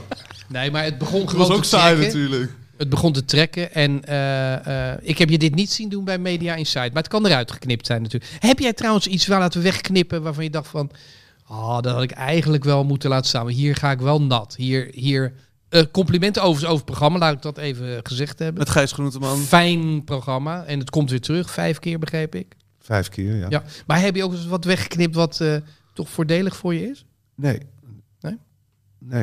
Speaker 6: nee, maar het begon
Speaker 4: Dat
Speaker 6: gewoon
Speaker 4: was ook
Speaker 6: te
Speaker 4: saai
Speaker 6: trekken.
Speaker 4: natuurlijk.
Speaker 6: Het begon te trekken en eh, eh, ik heb je dit niet zien doen bij Media Insight, maar het kan eruit geknipt zijn natuurlijk. Heb jij trouwens iets wel laten wegknippen waarvan je dacht van, ah, dat had ik eigenlijk wel moeten laten staan, maar hier ga ik wel nat. Hier, hier eh, complimenten overigens over het programma, laat ik dat even gezegd hebben.
Speaker 4: Met Gijs Groenteman.
Speaker 6: Fijn programma en het komt weer terug, vijf keer begreep ik.
Speaker 2: vijf keer, ja.
Speaker 6: Ja. Maar heb je ook eens wat weggeknipt wat eh, toch voordelig voor je is?
Speaker 2: Nee.
Speaker 6: Nee?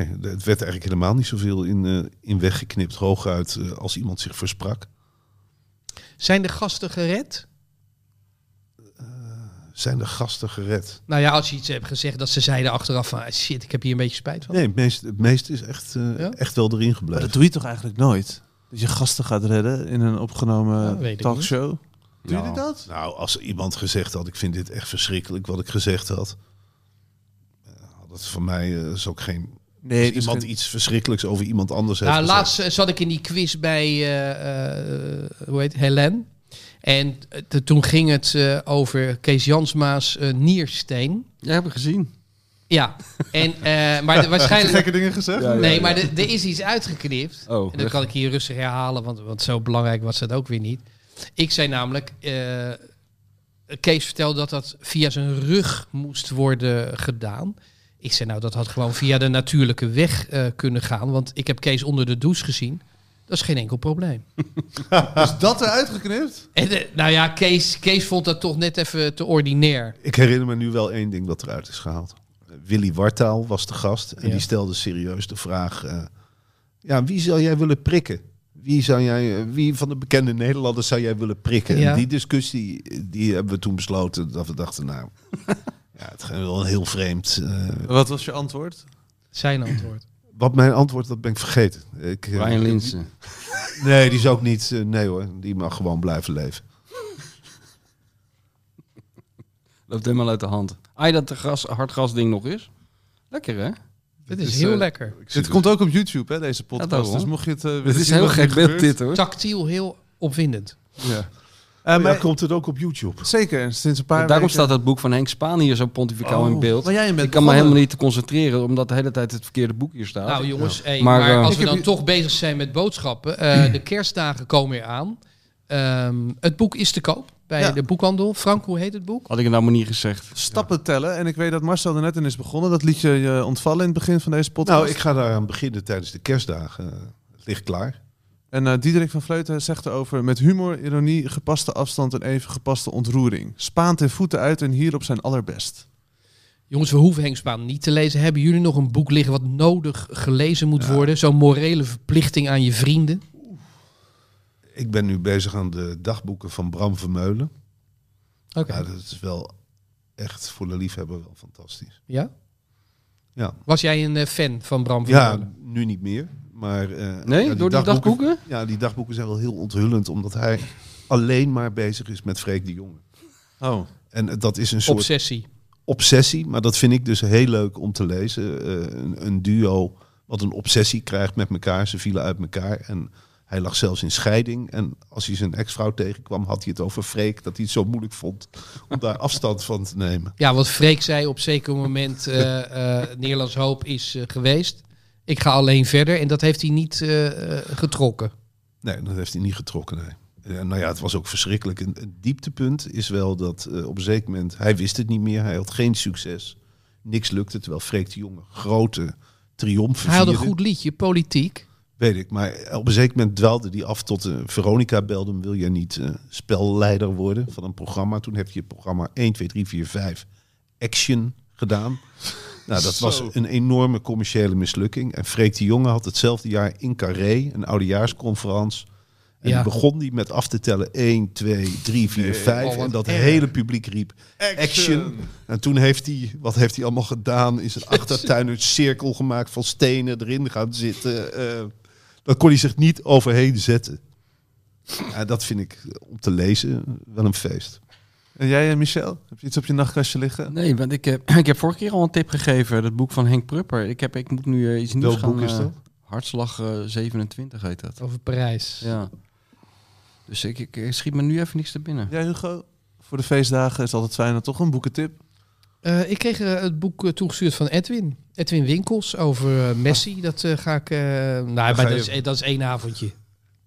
Speaker 2: Nee, het werd eigenlijk helemaal niet zoveel in, eh, in weggeknipt. Hooguit eh, als iemand zich versprak.
Speaker 6: Zijn de gasten gered?
Speaker 2: Zijn de gasten gered?
Speaker 6: Nou ja, als je iets hebt gezegd dat ze zeiden achteraf van, ah, shit, ik heb hier een beetje spijt van.
Speaker 2: Nee, het meeste, het meeste is echt, eh,
Speaker 6: Ja?
Speaker 2: echt wel erin
Speaker 4: Maar
Speaker 2: gebleven.
Speaker 4: dat doe je toch eigenlijk nooit? dat je gasten gaat redden in een
Speaker 6: Ja,
Speaker 4: opgenomen
Speaker 6: weet ik
Speaker 4: talkshow. Doe
Speaker 2: Nou,
Speaker 4: je dat?
Speaker 2: Nou, als iemand gezegd had, ik vind dit echt verschrikkelijk wat ik gezegd had. eh, had het voor mij eh, is ook geen...
Speaker 4: Nee,
Speaker 2: als
Speaker 4: dus
Speaker 2: iemand
Speaker 4: geen-
Speaker 2: iets verschrikkelijks over iemand anders heeft
Speaker 6: Nou,
Speaker 2: gezegd.
Speaker 6: laatst eh, zat ik in die quiz bij, eh, eh, hoe heet het, Helen. En eh, t- toen ging het eh, over Kees Jansma's eh, niersteen.
Speaker 5: Jij hebt het gezien.
Speaker 6: Ja, en, eh, maar de- waarschijnlijk...
Speaker 4: gekke dingen gezegd.
Speaker 5: Ja, ja,
Speaker 6: Nee,
Speaker 5: ja.
Speaker 6: maar de- er is iets uitgeknipt.
Speaker 5: Oh,
Speaker 6: en dat kan ik hier rustig herhalen, want, want zo belangrijk was dat ook weer niet. Ik zei namelijk, eh, Kees vertelde dat dat via zijn rug moest worden gedaan. Ik zei nou, dat had gewoon via de natuurlijke weg eh, kunnen gaan. Want ik heb Kees onder de douche gezien. Dat is geen enkel probleem.
Speaker 4: Is dat eruit geknipt?
Speaker 6: En, eh, nou ja, Kees, Kees vond dat toch net even te ordinair.
Speaker 2: Ik herinner me nu wel één ding wat eruit is gehaald. Eh, Willy Wartaal was de gast en
Speaker 6: Ja.
Speaker 2: die stelde serieus de vraag... eh, ja, wie zou jij willen prikken? Wie, zou jij, eh, wie van de bekende Nederlanders zou jij willen prikken?
Speaker 6: Ja.
Speaker 2: En die discussie eh, die hebben we toen besloten dat we dachten... nou, ja, het ging wel heel vreemd. eh,
Speaker 4: Wat was je antwoord?
Speaker 6: Zijn antwoord.
Speaker 2: wat mijn antwoord, dat ben ik vergeten. Ik, eh,
Speaker 5: Brian Linsen.
Speaker 2: Nee, die is ook niet... eh, nee hoor, die mag gewoon blijven leven.
Speaker 5: Loopt helemaal uit de hand. Ai, dat de gas, hardgasding nog is. Lekker, hè?
Speaker 6: Dat
Speaker 4: is,
Speaker 6: is heel
Speaker 4: eh,
Speaker 6: lekker.
Speaker 4: Dit komt ook op YouTube, hè, deze podcast.
Speaker 5: daarom.
Speaker 4: dus mocht je het. eh, willen
Speaker 5: Het is
Speaker 4: zien
Speaker 5: heel
Speaker 4: wat er
Speaker 5: gek beeld
Speaker 4: gebeurt.
Speaker 5: dit, hoor.
Speaker 6: Tactiel heel opwindend.
Speaker 4: Ja.
Speaker 2: Maar
Speaker 4: Eh, maar,
Speaker 2: komt het ook op YouTube?
Speaker 4: zeker, en sinds een paar
Speaker 5: Daarom
Speaker 4: weken-
Speaker 5: staat dat boek van Henk Spaan hier zo pontificaal
Speaker 4: Oh,
Speaker 5: in beeld.
Speaker 4: Maar jij bent
Speaker 5: Ik kan me
Speaker 4: begonnen.
Speaker 5: helemaal niet concentreren, omdat de hele tijd het verkeerde boek hier staat.
Speaker 6: Nou jongens, hey,
Speaker 5: Maar,
Speaker 6: maar,
Speaker 5: eh,
Speaker 6: als
Speaker 5: Ik
Speaker 6: we dan
Speaker 4: heb
Speaker 6: toch bezig zijn met boodschappen. eh, de kerstdagen komen eraan. Ehm, het boek is te koop bij
Speaker 4: Ja.
Speaker 6: de boekhandel. Frank, hoe heet het boek?
Speaker 5: Had ik het nou maar niet gezegd.
Speaker 4: Stappen tellen. En ik weet dat Marcel er net in is begonnen. Dat liet je je ontvallen in het begin van deze podcast.
Speaker 2: Nou, ik ga daaraan beginnen tijdens de kerstdagen. Eh, Het ligt klaar.
Speaker 4: En eh, Diederik van Vleuten zegt erover... met humor, ironie, gepaste afstand en even gepaste ontroering. Spaant in voeten uit en hierop zijn allerbest.
Speaker 6: Jongens, we hoeven Henk Spaan niet te lezen. Hebben jullie nog een boek liggen wat nodig gelezen moet worden? Zo'n morele verplichting aan je vrienden.
Speaker 2: Ik ben nu bezig aan de dagboeken van Bram Vermeulen.
Speaker 6: Oké.
Speaker 2: Ja, dat is wel echt voor de liefhebber wel fantastisch.
Speaker 6: Ja?
Speaker 2: Ja.
Speaker 6: Was jij een eh, fan van Bram van
Speaker 2: Ja,
Speaker 6: Meulen?
Speaker 2: nu niet meer. Maar, eh,
Speaker 5: Nee,
Speaker 2: ja,
Speaker 5: door die dagboeken?
Speaker 2: Ja, die dagboeken zijn wel heel onthullend, omdat hij alleen maar bezig is met Freek de Jonge.
Speaker 4: Oh.
Speaker 2: En eh, dat is een soort
Speaker 6: Obsessie.
Speaker 2: obsessie, maar dat vind ik dus heel leuk om te lezen. Eh, een, een duo wat een obsessie krijgt met elkaar. Ze vielen uit elkaar en hij lag zelfs in scheiding. En als hij zijn ex-vrouw tegenkwam, had hij het over Freek, dat hij het zo moeilijk vond om daar afstand van te nemen.
Speaker 6: Ja, wat Freek zei op zeker moment, eh, eh, Nederlands Hoop is eh, geweest. Ik ga alleen verder en dat heeft hij niet eh, eh, getrokken.
Speaker 2: Nee, dat heeft hij niet getrokken. Nee. Eh, nou ja, het was ook verschrikkelijk. Een, een dieptepunt is wel dat eh, op een zeker moment, hij wist het niet meer, hij had geen succes. Niks lukte, terwijl Freek de Jonge grote triomfen
Speaker 6: Hij had een
Speaker 2: vierde.
Speaker 6: goed liedje, politiek.
Speaker 2: Weet ik, maar op een zeker moment dwaalde die af tot eh, Veronica belde hem, wil je niet eh, spelleider worden van een programma? Toen heb je het programma 1, 2, 3, 4, 5 Action gedaan. Nou, dat was
Speaker 4: Zo.
Speaker 2: een enorme commerciële mislukking. En Freek de Jonge had hetzelfde jaar in Carré, een oudejaarsconferentie. En
Speaker 6: Ja.
Speaker 2: die begon die met af te tellen 1, 2, 3, 4, 5. en dat hele publiek riep action. En toen heeft hij, wat heeft hij allemaal gedaan? Is een achtertuin een cirkel gemaakt van stenen erin gaan zitten. eh dan kon hij zich niet overheen zetten. Ja, dat vind ik eh, om te lezen wel een feest.
Speaker 4: En jij en Michel? Heb je iets op je nachtkastje liggen?
Speaker 5: Nee, want ik heb, ik heb vorige keer al een tip gegeven. Dat boek van Henk Prupper. Ik, heb, ik moet nu eh, iets nieuws
Speaker 2: Welk
Speaker 5: gaan...
Speaker 2: boek is
Speaker 5: eh,
Speaker 2: dat?
Speaker 5: Hartslag eh, 27 heet dat.
Speaker 6: Over Parijs.
Speaker 5: Ja. Dus ik, ik, ik schiet me nu even niks te binnen.
Speaker 4: Jij Hugo? Voor de feestdagen is het altijd fijn dat toch een boekentip.
Speaker 6: Eh, ik kreeg eh, het boek eh, toegestuurd van Edwin. Edwin Winkels over eh, Messi. Dat eh, ga ik... eh, nou,
Speaker 2: ga
Speaker 6: maar dat,
Speaker 2: je-
Speaker 6: is, eh, dat is één avondje.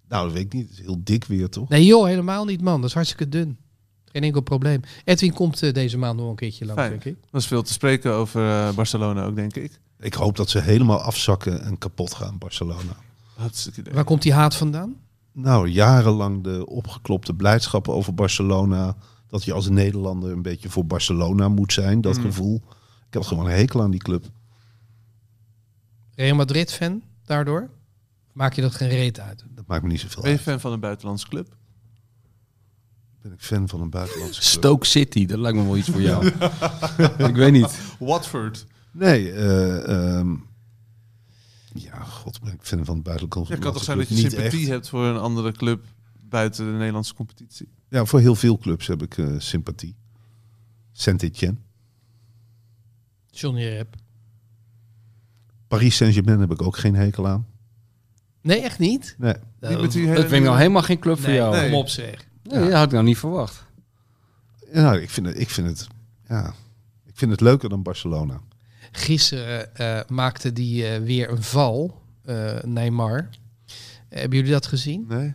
Speaker 2: Nou, dat weet ik niet. Het is heel dik weer, toch?
Speaker 6: Nee joh, helemaal niet man. Dat is hartstikke dun. Geen enkel probleem. Edwin komt eh, deze maand nog een keertje langs,
Speaker 4: Fijn.
Speaker 6: denk ik.
Speaker 4: Dat is veel te spreken over eh, Barcelona ook, denk ik.
Speaker 2: Ik hoop dat ze helemaal afzakken en kapot gaan, Barcelona.
Speaker 4: Hartstikke idee.
Speaker 6: Waar komt die haat vandaan?
Speaker 2: Nou, jarenlang de opgeklopte blijdschap over Barcelona. Dat je als Nederlander een beetje voor Barcelona moet zijn, dat
Speaker 4: Mm.
Speaker 2: gevoel. Ik heb gewoon een hekel aan die club.
Speaker 6: Real Madrid-fan daardoor? Maak je dat geen reet uit?
Speaker 2: Dat maakt me niet zoveel
Speaker 4: Ben je
Speaker 2: uit.
Speaker 4: fan van een buitenlandse club?
Speaker 2: Ben ik fan van een buitenlandse club.
Speaker 5: Stoke City, dat lijkt me wel iets voor jou. ik weet niet.
Speaker 4: Watford.
Speaker 2: Nee, eh, ehm, Ja, god, maar ik vind hem van het buitenland.
Speaker 4: Ja, het kan toch zijn dat je sympathie hebt voor een andere club buiten de Nederlandse competitie?
Speaker 2: Ja, voor heel veel clubs heb ik eh, sympathie. Saint-Etienne.
Speaker 6: Johnny Rep.
Speaker 2: Paris Saint-Germain heb ik ook geen hekel aan.
Speaker 6: Nee, echt niet?
Speaker 2: Nee.
Speaker 4: Niet met die hele-
Speaker 5: Dat vind ik nou helemaal geen club voor
Speaker 6: Nee,
Speaker 5: jou.
Speaker 6: kom op zeg.
Speaker 5: Nee, dat had ik nou niet verwacht.
Speaker 2: Ja, Nou, ik vind het, ik vind het, ja, ik vind het leuker dan Barcelona.
Speaker 6: Gisteren eh, maakte die eh, weer een val, eh Neymar. hebben jullie dat gezien?
Speaker 2: Nee.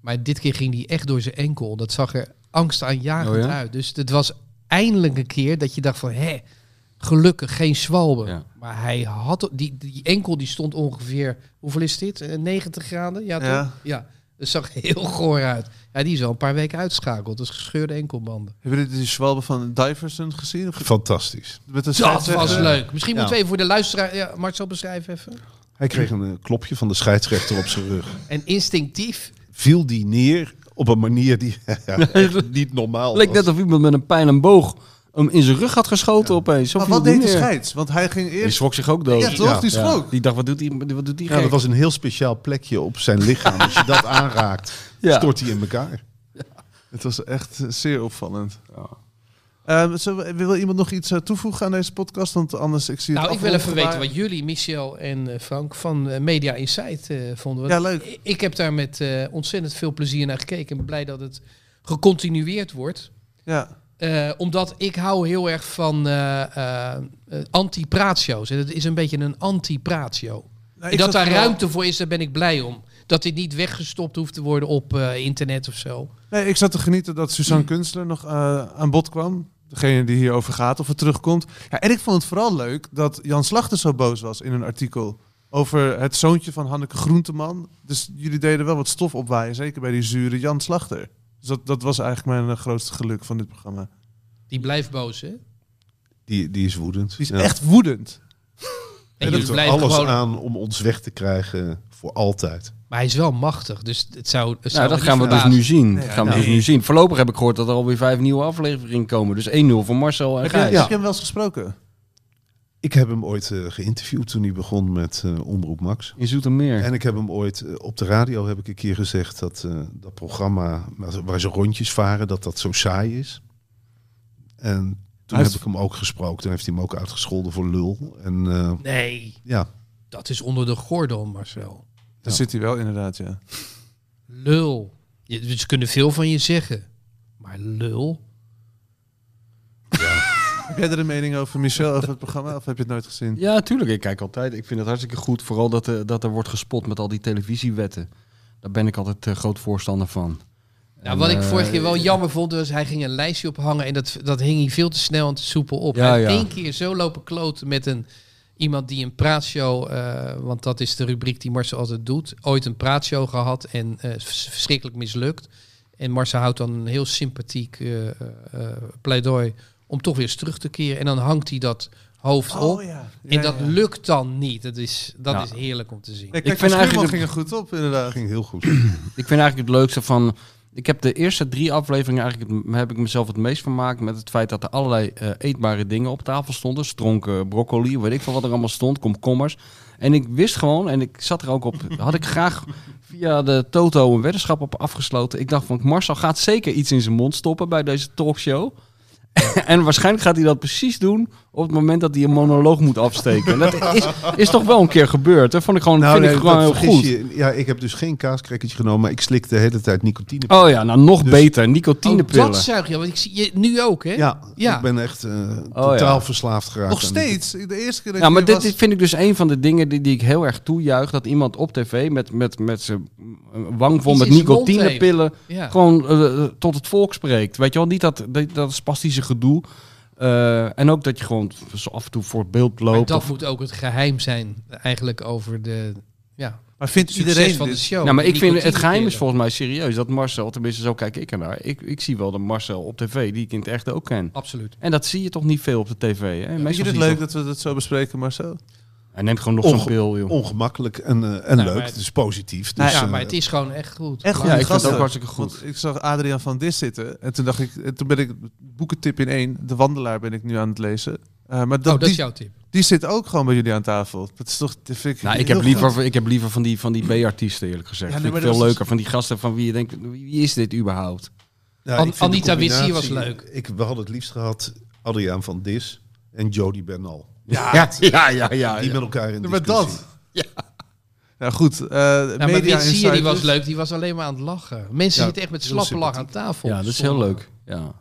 Speaker 6: Maar dit keer ging die echt door zijn enkel. Dat zag er angstaanjagend
Speaker 5: Oh ja?
Speaker 6: uit. Dus het was eindelijk een keer dat je dacht van... hé, gelukkig geen zwalbe.
Speaker 5: Ja.
Speaker 6: Maar hij had... Die, die enkel die stond ongeveer... Hoeveel is dit? Eh, 90 graden? Ja,
Speaker 4: Ja.
Speaker 6: toch? Ja. Dat zag heel goor uit. Ja, die is al een paar weken uitschakeld. Dus gescheurde enkelbanden.
Speaker 4: Hebben jullie die zwalbe van Diversen gezien? Of
Speaker 2: Fantastisch.
Speaker 4: Met een
Speaker 6: Dat was
Speaker 4: scheidsrechter?
Speaker 6: leuk. Misschien
Speaker 2: Ja.
Speaker 6: moeten we even voor de luisteraar... Ja, Marcel, beschrijf even.
Speaker 2: Hij kreeg een eh, klopje van de scheidsrechter op zijn rug.
Speaker 6: En instinctief...
Speaker 2: Viel die neer op een manier die ja, echt niet normaal
Speaker 5: Het leek
Speaker 2: was.
Speaker 5: net of iemand met een pijl en boog hem in zijn rug had geschoten opeens. Zo
Speaker 4: Maar
Speaker 5: viel
Speaker 4: wat
Speaker 5: die
Speaker 4: deed de
Speaker 5: neer.
Speaker 4: scheids? Want hij ging
Speaker 5: Die
Speaker 4: eerst...
Speaker 5: schrok zich ook dood.
Speaker 4: Ja, toch? Die
Speaker 5: Ja.
Speaker 4: schrok.
Speaker 5: Die dacht, wat doet die, wat doet die
Speaker 2: Ja, dat
Speaker 5: gek?
Speaker 2: was een heel speciaal plekje op zijn lichaam. Als je dat aanraakt,
Speaker 5: Ja.
Speaker 2: stort hij in elkaar.
Speaker 4: Het was echt eh, zeer opvallend. Ehm, zullen we- wil iemand nog iets eh, toevoegen aan deze podcast? Want anders, ik zie het
Speaker 6: Nou, ik wil even
Speaker 4: afrondgebaar.
Speaker 6: weten wat jullie, Michel en eh, Frank, van eh, Media Insight eh, vonden. Want
Speaker 4: Ja, leuk.
Speaker 6: i- Ik heb daar met eh, ontzettend veel plezier naar gekeken. Ik ben blij dat het gecontinueerd wordt.
Speaker 4: Ja,
Speaker 6: Eh, omdat ik hou heel erg van eh, eh, eh, anti-praatjo's. En het is een beetje een anti-praatjo.
Speaker 4: Nou,
Speaker 6: En
Speaker 4: ik zat
Speaker 6: dat daar
Speaker 4: vooral-
Speaker 6: ruimte voor is, daar ben ik blij om. Dat dit niet weggestopt hoeft te worden op eh, internet of zo.
Speaker 4: Nee, ik zat te genieten dat Suzanne Kunstler nog eh, aan bod kwam. Degene die hierover gaat of het terugkomt. Ja, en ik vond het vooral leuk dat Jan Slachter zo boos was in een artikel. Over het zoontje van Hanneke Groenteman. Dus jullie deden wel wat stof opwaaien. Zeker bij die zure Jan Slachter. Dus dat, dat was eigenlijk mijn eh, grootste geluk van dit programma.
Speaker 6: Die blijft boos, hè?
Speaker 2: Die, die is woedend.
Speaker 4: Die is
Speaker 2: Ja.
Speaker 4: echt woedend.
Speaker 6: En
Speaker 2: Hij
Speaker 6: jullie
Speaker 2: doet er
Speaker 6: blijven
Speaker 2: alles
Speaker 6: gewoon...
Speaker 2: aan om ons weg te krijgen voor altijd.
Speaker 6: Maar hij is wel machtig, dus het zou... het
Speaker 5: Nou,
Speaker 6: zou
Speaker 5: dat
Speaker 6: me niet
Speaker 5: gaan we dus
Speaker 6: verbazen.
Speaker 5: nu zien. Dat
Speaker 4: Nee,
Speaker 5: gaan we
Speaker 4: nou.
Speaker 5: dus nu zien. Voorlopig heb ik gehoord dat er alweer vijf nieuwe afleveringen komen. Dus 1-0 voor Marcel en
Speaker 4: Heb je,
Speaker 5: Gijs.
Speaker 4: heb je hem wel eens gesproken?
Speaker 2: Ik heb hem ooit eh, geïnterviewd toen hij begon met eh, Omroep Max.
Speaker 5: In Zoetermeer.
Speaker 2: En ik heb hem ooit eh, op de radio heb ik een keer gezegd dat eh, dat programma waar ze- waar ze rondjes varen, dat dat zo saai is. En toen
Speaker 4: Hij is-
Speaker 2: heb ik hem ook gesproken. Toen heeft hij hem ook uitgescholden voor lul. En eh,
Speaker 6: Nee,
Speaker 2: ja,
Speaker 6: dat is onder de gordel, Marcel.
Speaker 4: Daar
Speaker 2: Ja.
Speaker 4: zit hij wel inderdaad, ja.
Speaker 6: Lul. Je, ze kunnen veel van je zeggen. Maar lul?
Speaker 4: Heb jij er een mening over, Michel, over het programma? Of heb je het nooit gezien?
Speaker 5: Ja, tuurlijk. Ik kijk altijd. Ik vind het hartstikke goed. Vooral dat, er- dat er wordt gespot met al die televisiewetten. Daar ben ik altijd eh, groot voorstander van.
Speaker 6: Nou,
Speaker 5: En,
Speaker 6: wat ik
Speaker 5: eh,
Speaker 6: vorige keer wel jammer vond, was hij ging een lijstje ophangen en dat, dat hing hij veel te snel en te soepel op.
Speaker 5: Ja,
Speaker 6: hij heeft
Speaker 5: ja.
Speaker 6: één keer zo lopen kloten met een, iemand die een praatshow, eh, want dat is de rubriek die Marcel altijd doet, ooit een praatshow gehad en eh, vers- verschrikkelijk mislukt. En Marcel houdt dan een heel sympathiek eh, eh, eh, pleidooi om toch weer eens terug te keren. En dan hangt hij dat hoofd op.
Speaker 4: ja.
Speaker 6: en dat
Speaker 4: ja.
Speaker 6: lukt dan niet. Dat is, dat
Speaker 5: Ja.
Speaker 6: is heerlijk om te zien.
Speaker 4: Nee, kijk, Hans
Speaker 5: vind
Speaker 4: Schuurman
Speaker 5: eigenlijk-
Speaker 4: ging er goed op, inderdaad.
Speaker 2: dat ging heel goed.
Speaker 5: Ik vind eigenlijk het leukste van. Ik heb de eerste drie afleveringen eigenlijk het, heb ik mezelf het meest vermaakt met het feit dat er allerlei eh, eetbare dingen op tafel stonden. Stronken, broccoli, weet ik veel wat er allemaal stond, komkommers. En ik wist gewoon, en ik zat er ook op, had ik graag via de Toto een weddenschap op afgesloten. Ik dacht van Marcel gaat zeker iets in zijn mond stoppen bij deze talkshow. en waarschijnlijk gaat hij dat precies doen op het moment dat hij een monoloog moet afsteken. En dat is, is toch wel een keer gebeurd. Dat vond ik gewoon, vind
Speaker 2: Nou, nee,
Speaker 5: ik gewoon
Speaker 2: dat
Speaker 5: heel
Speaker 2: vergis
Speaker 5: goed.
Speaker 2: je. Ja, ik heb dus geen kaaskrekkertje genomen, maar ik slik de hele tijd nicotine.
Speaker 5: Oh ja, nou nog
Speaker 2: Dus-
Speaker 5: beter.
Speaker 6: Oh,
Speaker 5: Nicotinepillen.
Speaker 6: dat zuig je, want ik zie je nu ook, hè?
Speaker 2: Ja,
Speaker 6: Ja.
Speaker 2: ik ben echt eh, totaal
Speaker 5: ja.
Speaker 2: verslaafd geraakt.
Speaker 4: Nog
Speaker 2: aan
Speaker 4: steeds. De eerste keer dat
Speaker 5: ja,
Speaker 4: ik
Speaker 5: maar
Speaker 4: hier
Speaker 5: dit,
Speaker 4: was-
Speaker 5: dit vind ik dus een van de dingen die, die ik heel erg toejuich. Dat iemand op tv met, met, met zijn wang vol
Speaker 6: Iets
Speaker 5: met
Speaker 6: in zijn mond
Speaker 5: nicotinepillen
Speaker 6: Ja.
Speaker 5: gewoon eh, tot het volk spreekt. Weet je wel, niet dat, dat, dat spastische gedoe. Eh, en ook dat je gewoon zo af en toe voor het beeld
Speaker 6: Maar
Speaker 5: loopt.
Speaker 6: dat
Speaker 5: of-
Speaker 6: moet ook het geheim zijn, eigenlijk over de ja,
Speaker 4: Maar vindt
Speaker 6: succes
Speaker 4: iedereen
Speaker 6: van
Speaker 4: dit?
Speaker 6: de show.
Speaker 5: nou, maar ik
Speaker 6: Die
Speaker 5: vind het geheim is
Speaker 6: nicotinepillen.
Speaker 5: volgens mij serieus. Dat Marcel, tenminste zo kijk ik ernaar. Ik, ik zie wel de Marcel op tv die ik in het echt ook ken.
Speaker 6: Absoluut.
Speaker 5: En dat zie je toch niet veel op de tv. Hè? Meestal
Speaker 4: Vind je
Speaker 5: zie
Speaker 4: het
Speaker 5: je
Speaker 4: leuk
Speaker 5: toch-
Speaker 4: dat we dat zo bespreken, Marcel?
Speaker 5: Hij neemt gewoon nog
Speaker 2: Onge-
Speaker 5: zo'n pil, joh.
Speaker 2: Ongemakkelijk en, eh, en
Speaker 6: Nou,
Speaker 2: leuk.
Speaker 6: maar-
Speaker 2: Het is positief.
Speaker 6: Nou
Speaker 2: Dus,
Speaker 6: ja,
Speaker 2: eh,
Speaker 6: maar het is gewoon echt goed. Oh,
Speaker 4: Echt
Speaker 5: Ja,
Speaker 4: goede
Speaker 5: ik vind het
Speaker 4: gasten.
Speaker 5: ook hartstikke goed.
Speaker 4: Want ik zag eh, Adriaan van Dis zitten. En toen dacht ik, en toen ben ik boekentip in één, De Wandelaar ben ik nu aan het lezen. Eh, maar dat,
Speaker 6: Oh, dat is
Speaker 4: die,
Speaker 6: jouw tip.
Speaker 4: die zit ook gewoon bij jullie aan tafel. Dat is toch, dat vind ik
Speaker 5: Nou, ik,
Speaker 4: heel
Speaker 5: heb liever,
Speaker 4: goed.
Speaker 5: ik heb liever van die, van die B-artiesten, eerlijk gezegd.
Speaker 4: Ja, nee,
Speaker 5: vind
Speaker 4: maar
Speaker 5: ik
Speaker 4: dat
Speaker 5: veel
Speaker 4: was-
Speaker 5: leuker. Van die gasten van wie je denkt, wie is dit überhaupt?
Speaker 2: Ja,
Speaker 6: An-
Speaker 2: ik vind de
Speaker 6: Anita Wissier
Speaker 2: combinatie-
Speaker 6: was leuk.
Speaker 2: Ik, we hadden het liefst gehad Adriaan van Dis en Jody Bernal.
Speaker 5: Ja, ja, ja. ja,
Speaker 2: die met elkaar in
Speaker 4: Ja,
Speaker 2: discussie.
Speaker 4: maar dat. Nou goed, eh
Speaker 6: Ja, maar
Speaker 4: media
Speaker 6: dit zie je, die was
Speaker 4: insiders.
Speaker 6: leuk. Die was alleen maar aan het lachen. Mensen
Speaker 2: Ja,
Speaker 6: zitten echt met
Speaker 2: heel
Speaker 6: slappe lach aan
Speaker 2: sympathiek.
Speaker 6: tafel.
Speaker 5: ja, dat is heel leuk. Ja.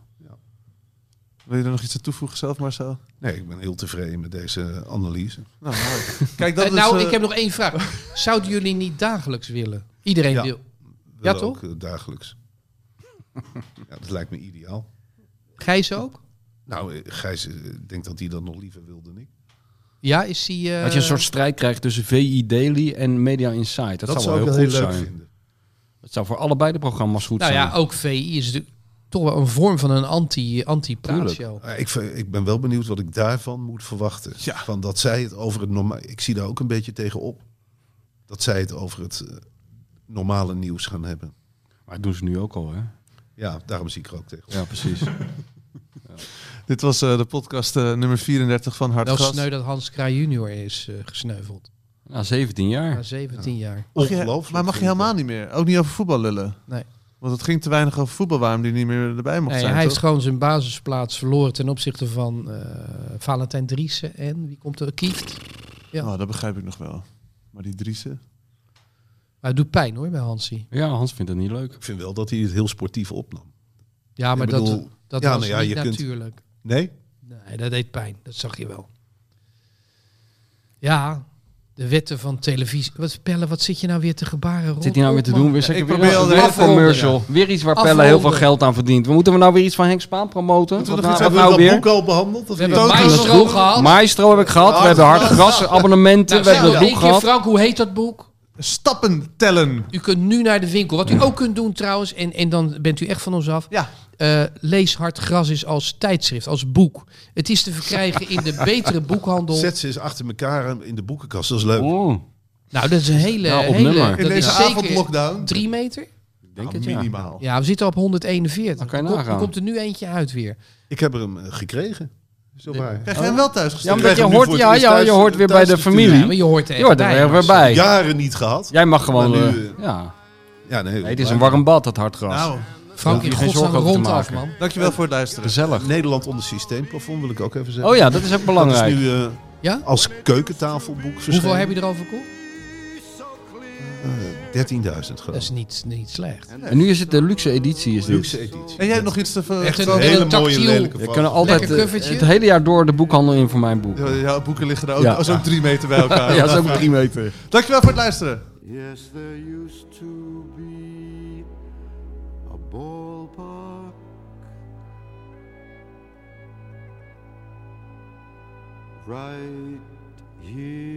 Speaker 4: Wil je er nog iets aan toevoegen zelf, Marcel?
Speaker 2: Nee, ik ben heel tevreden met deze analyse.
Speaker 4: Nou, mooi. Kijk,
Speaker 6: Eh,
Speaker 4: dat is,
Speaker 6: nou,
Speaker 4: eh,
Speaker 6: ik heb nog één vraag. Zouden jullie niet dagelijks willen? Iedereen
Speaker 2: Ja.
Speaker 6: wil.
Speaker 2: We
Speaker 6: Ja,
Speaker 2: willen
Speaker 6: toch?
Speaker 2: Ook, eh, dagelijks. ja, dat lijkt me ideaal.
Speaker 6: Gijs ook?
Speaker 2: Nou, eh, Gijs, eh, ik denk dat hij dat nog liever wil dan ik.
Speaker 6: Ja, is die... eh,
Speaker 5: Dat je een soort strijd krijgt tussen VI Daily en Media Insight. Dat, zou wel heel goed zijn.
Speaker 2: vinden.
Speaker 5: Dat zou voor allebei de programma's goed
Speaker 6: Nou
Speaker 5: zijn.
Speaker 6: ja, ook VI is natuurlijk toch wel een vorm van een anti, anti-praatshow.
Speaker 2: Ah, ik, ver- ik ben wel benieuwd wat ik daarvan moet verwachten.
Speaker 4: Ja.
Speaker 2: Van dat zij het over het normaal... Ik zie daar ook een beetje tegen op. Dat zij het over het eh, normale nieuws gaan hebben.
Speaker 5: Maar dat doen ze nu ook al, hè?
Speaker 2: Ja, daarom zie ik er ook tegen op.
Speaker 5: Ja, precies.
Speaker 4: Dit was eh, de podcast eh, nummer 34 van
Speaker 6: Wel
Speaker 4: Hartgras.
Speaker 6: sneu dat Hans Kraai junior is eh, gesneuveld.
Speaker 5: Na 17
Speaker 6: Na
Speaker 5: jaar.
Speaker 6: 17 jaar.
Speaker 4: Mag je-
Speaker 2: Ongelooflijk,
Speaker 4: Maar mag je
Speaker 2: vind ik
Speaker 4: helemaal
Speaker 2: dat.
Speaker 4: niet meer? Ook niet over voetbal lullen?
Speaker 6: Nee.
Speaker 4: Want het ging te weinig over voetbal waarom die niet meer erbij mocht
Speaker 6: Nee,
Speaker 4: zijn,
Speaker 6: hij heeft
Speaker 4: toch?
Speaker 6: gewoon zijn basisplaats verloren ten opzichte van eh, Valentijn Driessen en wie komt er? Kieft. ja.
Speaker 4: Nou, dat begrijp ik nog wel. Maar die Driessen?
Speaker 6: Maar het doet pijn hoor bij Hansie.
Speaker 5: Ja, Hans vindt het niet leuk.
Speaker 2: Ik vind wel dat hij het heel sportief opnam.
Speaker 6: Ja, maar dat,
Speaker 2: bedoel,
Speaker 6: dat
Speaker 2: ja,
Speaker 6: was
Speaker 2: nou ja,
Speaker 6: niet
Speaker 2: je kunt-
Speaker 6: natuurlijk.
Speaker 2: Nee?
Speaker 6: Nee, dat deed pijn. Dat zag je wel. Ja, de wetten van televisie. Wat, Pelle, wat zit je nou weer te gebaren?
Speaker 5: Wat
Speaker 6: Rot
Speaker 5: zit hij nou weer
Speaker 6: op,
Speaker 5: te
Speaker 6: man.
Speaker 5: doen? Weer
Speaker 4: Ik
Speaker 5: zeker
Speaker 4: probeer
Speaker 5: weer
Speaker 4: al de
Speaker 5: weer een
Speaker 6: afronden,
Speaker 5: commercial. Weer iets waar Pelle
Speaker 6: Afronden.
Speaker 5: heel veel geld aan verdient. We moeten we nou weer iets van Henk Spaan promoten? Wat, nou- wat
Speaker 2: Hebben we
Speaker 5: nou
Speaker 2: dat
Speaker 5: weer?
Speaker 2: boek al behandeld? Of
Speaker 6: We hebben
Speaker 2: niet?
Speaker 4: Toto's
Speaker 6: Maestro
Speaker 4: boek.
Speaker 6: gehad.
Speaker 5: Maestro heb ik gehad. We hebben hard gras abonnementen.
Speaker 6: Nou,
Speaker 5: We
Speaker 6: zeg
Speaker 5: hebben
Speaker 6: nog
Speaker 5: het
Speaker 6: één
Speaker 5: boek
Speaker 6: keer,
Speaker 5: gehad.
Speaker 6: Frank, hoe heet dat boek?
Speaker 4: Stappen tellen!
Speaker 6: U kunt nu naar de winkel. Wat u ook kunt doen trouwens, en, en dan bent u echt van ons af.
Speaker 4: Ja.
Speaker 6: Eh, lees Hard Gras is als tijdschrift, als boek. Het is te verkrijgen in de betere boekhandel.
Speaker 2: Zet ze eens achter elkaar in de boekenkast. Dat is leuk.
Speaker 5: Oeh,
Speaker 6: Nou, dat is een hele...
Speaker 5: Nou, op
Speaker 6: hele
Speaker 5: nummer.
Speaker 6: dat
Speaker 4: In
Speaker 6: is
Speaker 4: deze
Speaker 6: zeker
Speaker 4: avondlockdown.
Speaker 6: Drie meter?
Speaker 5: ik
Speaker 4: Ah,
Speaker 5: denk
Speaker 2: Nou,
Speaker 5: het ja.
Speaker 2: minimaal.
Speaker 6: Ja, we zitten op 141.
Speaker 5: Dan kan je
Speaker 6: Er komt-
Speaker 5: nagaan.
Speaker 6: Er komt er nu eentje uit weer.
Speaker 2: Ik heb er hem eh, gekregen. Zo waar.
Speaker 4: Krijg je hem wel thuis
Speaker 5: Ja,
Speaker 4: gestuurd?
Speaker 5: omdat
Speaker 2: krijg
Speaker 5: je
Speaker 2: hem nu
Speaker 5: hoort,
Speaker 2: voor het
Speaker 5: ja,
Speaker 2: eerst
Speaker 5: ja, je
Speaker 2: thuis-
Speaker 5: hoort weer bij
Speaker 2: thuis
Speaker 5: de
Speaker 2: te sturen.
Speaker 5: familie.
Speaker 6: Ja, maar je hoort er
Speaker 5: Je hoort er
Speaker 6: bij,
Speaker 5: weer weer
Speaker 6: Marcel.
Speaker 5: bij.
Speaker 2: Jaren niet gehad.
Speaker 5: Jij mag gewoon...
Speaker 2: Maar nu,
Speaker 5: eh,
Speaker 2: eh,
Speaker 5: ja.
Speaker 2: Ja, nee,
Speaker 5: Nee, het is een warm bad, dat hartgras.
Speaker 4: Nou,
Speaker 6: Frank,
Speaker 5: Daar
Speaker 6: in
Speaker 5: hoef je geen
Speaker 6: godsnaam
Speaker 5: zorgen over te
Speaker 6: rondaf,
Speaker 5: maken.
Speaker 6: man.
Speaker 4: dankjewel voor het luisteren.
Speaker 5: Gezellig.
Speaker 2: Nederland onder systeemplafond wil ik ook even zeggen.
Speaker 5: Oh ja, dat is ook
Speaker 2: Dat is
Speaker 5: belangrijk.
Speaker 2: nu eh,
Speaker 6: Ja?
Speaker 2: als keukentafelboek
Speaker 6: Hoeveel
Speaker 2: verschenen.
Speaker 6: heb je erover verkocht?
Speaker 2: je? 13.000
Speaker 6: Dat is
Speaker 2: geloof ik.
Speaker 6: niet, niet slecht.
Speaker 5: En nu is het de luxe editie. Is dit.
Speaker 2: Luxe editie.
Speaker 4: En jij hebt nog iets te ver...
Speaker 6: Echt een-
Speaker 2: Een hele mooie
Speaker 6: tactiel-
Speaker 2: lelijke
Speaker 5: We
Speaker 2: vrouw.
Speaker 5: kunnen altijd
Speaker 6: Lekker
Speaker 5: eh,
Speaker 6: covertje.
Speaker 5: het hele jaar door de boekhandel in voor mijn boek.
Speaker 4: Ja, Jouw boeken liggen er ook,
Speaker 5: Ja.
Speaker 4: oh, zo'n drie meter bij elkaar.
Speaker 5: Ja, dat is ook drie meter.
Speaker 4: Dankjewel voor het luisteren.
Speaker 3: Yes, there used to be a ballpark right here.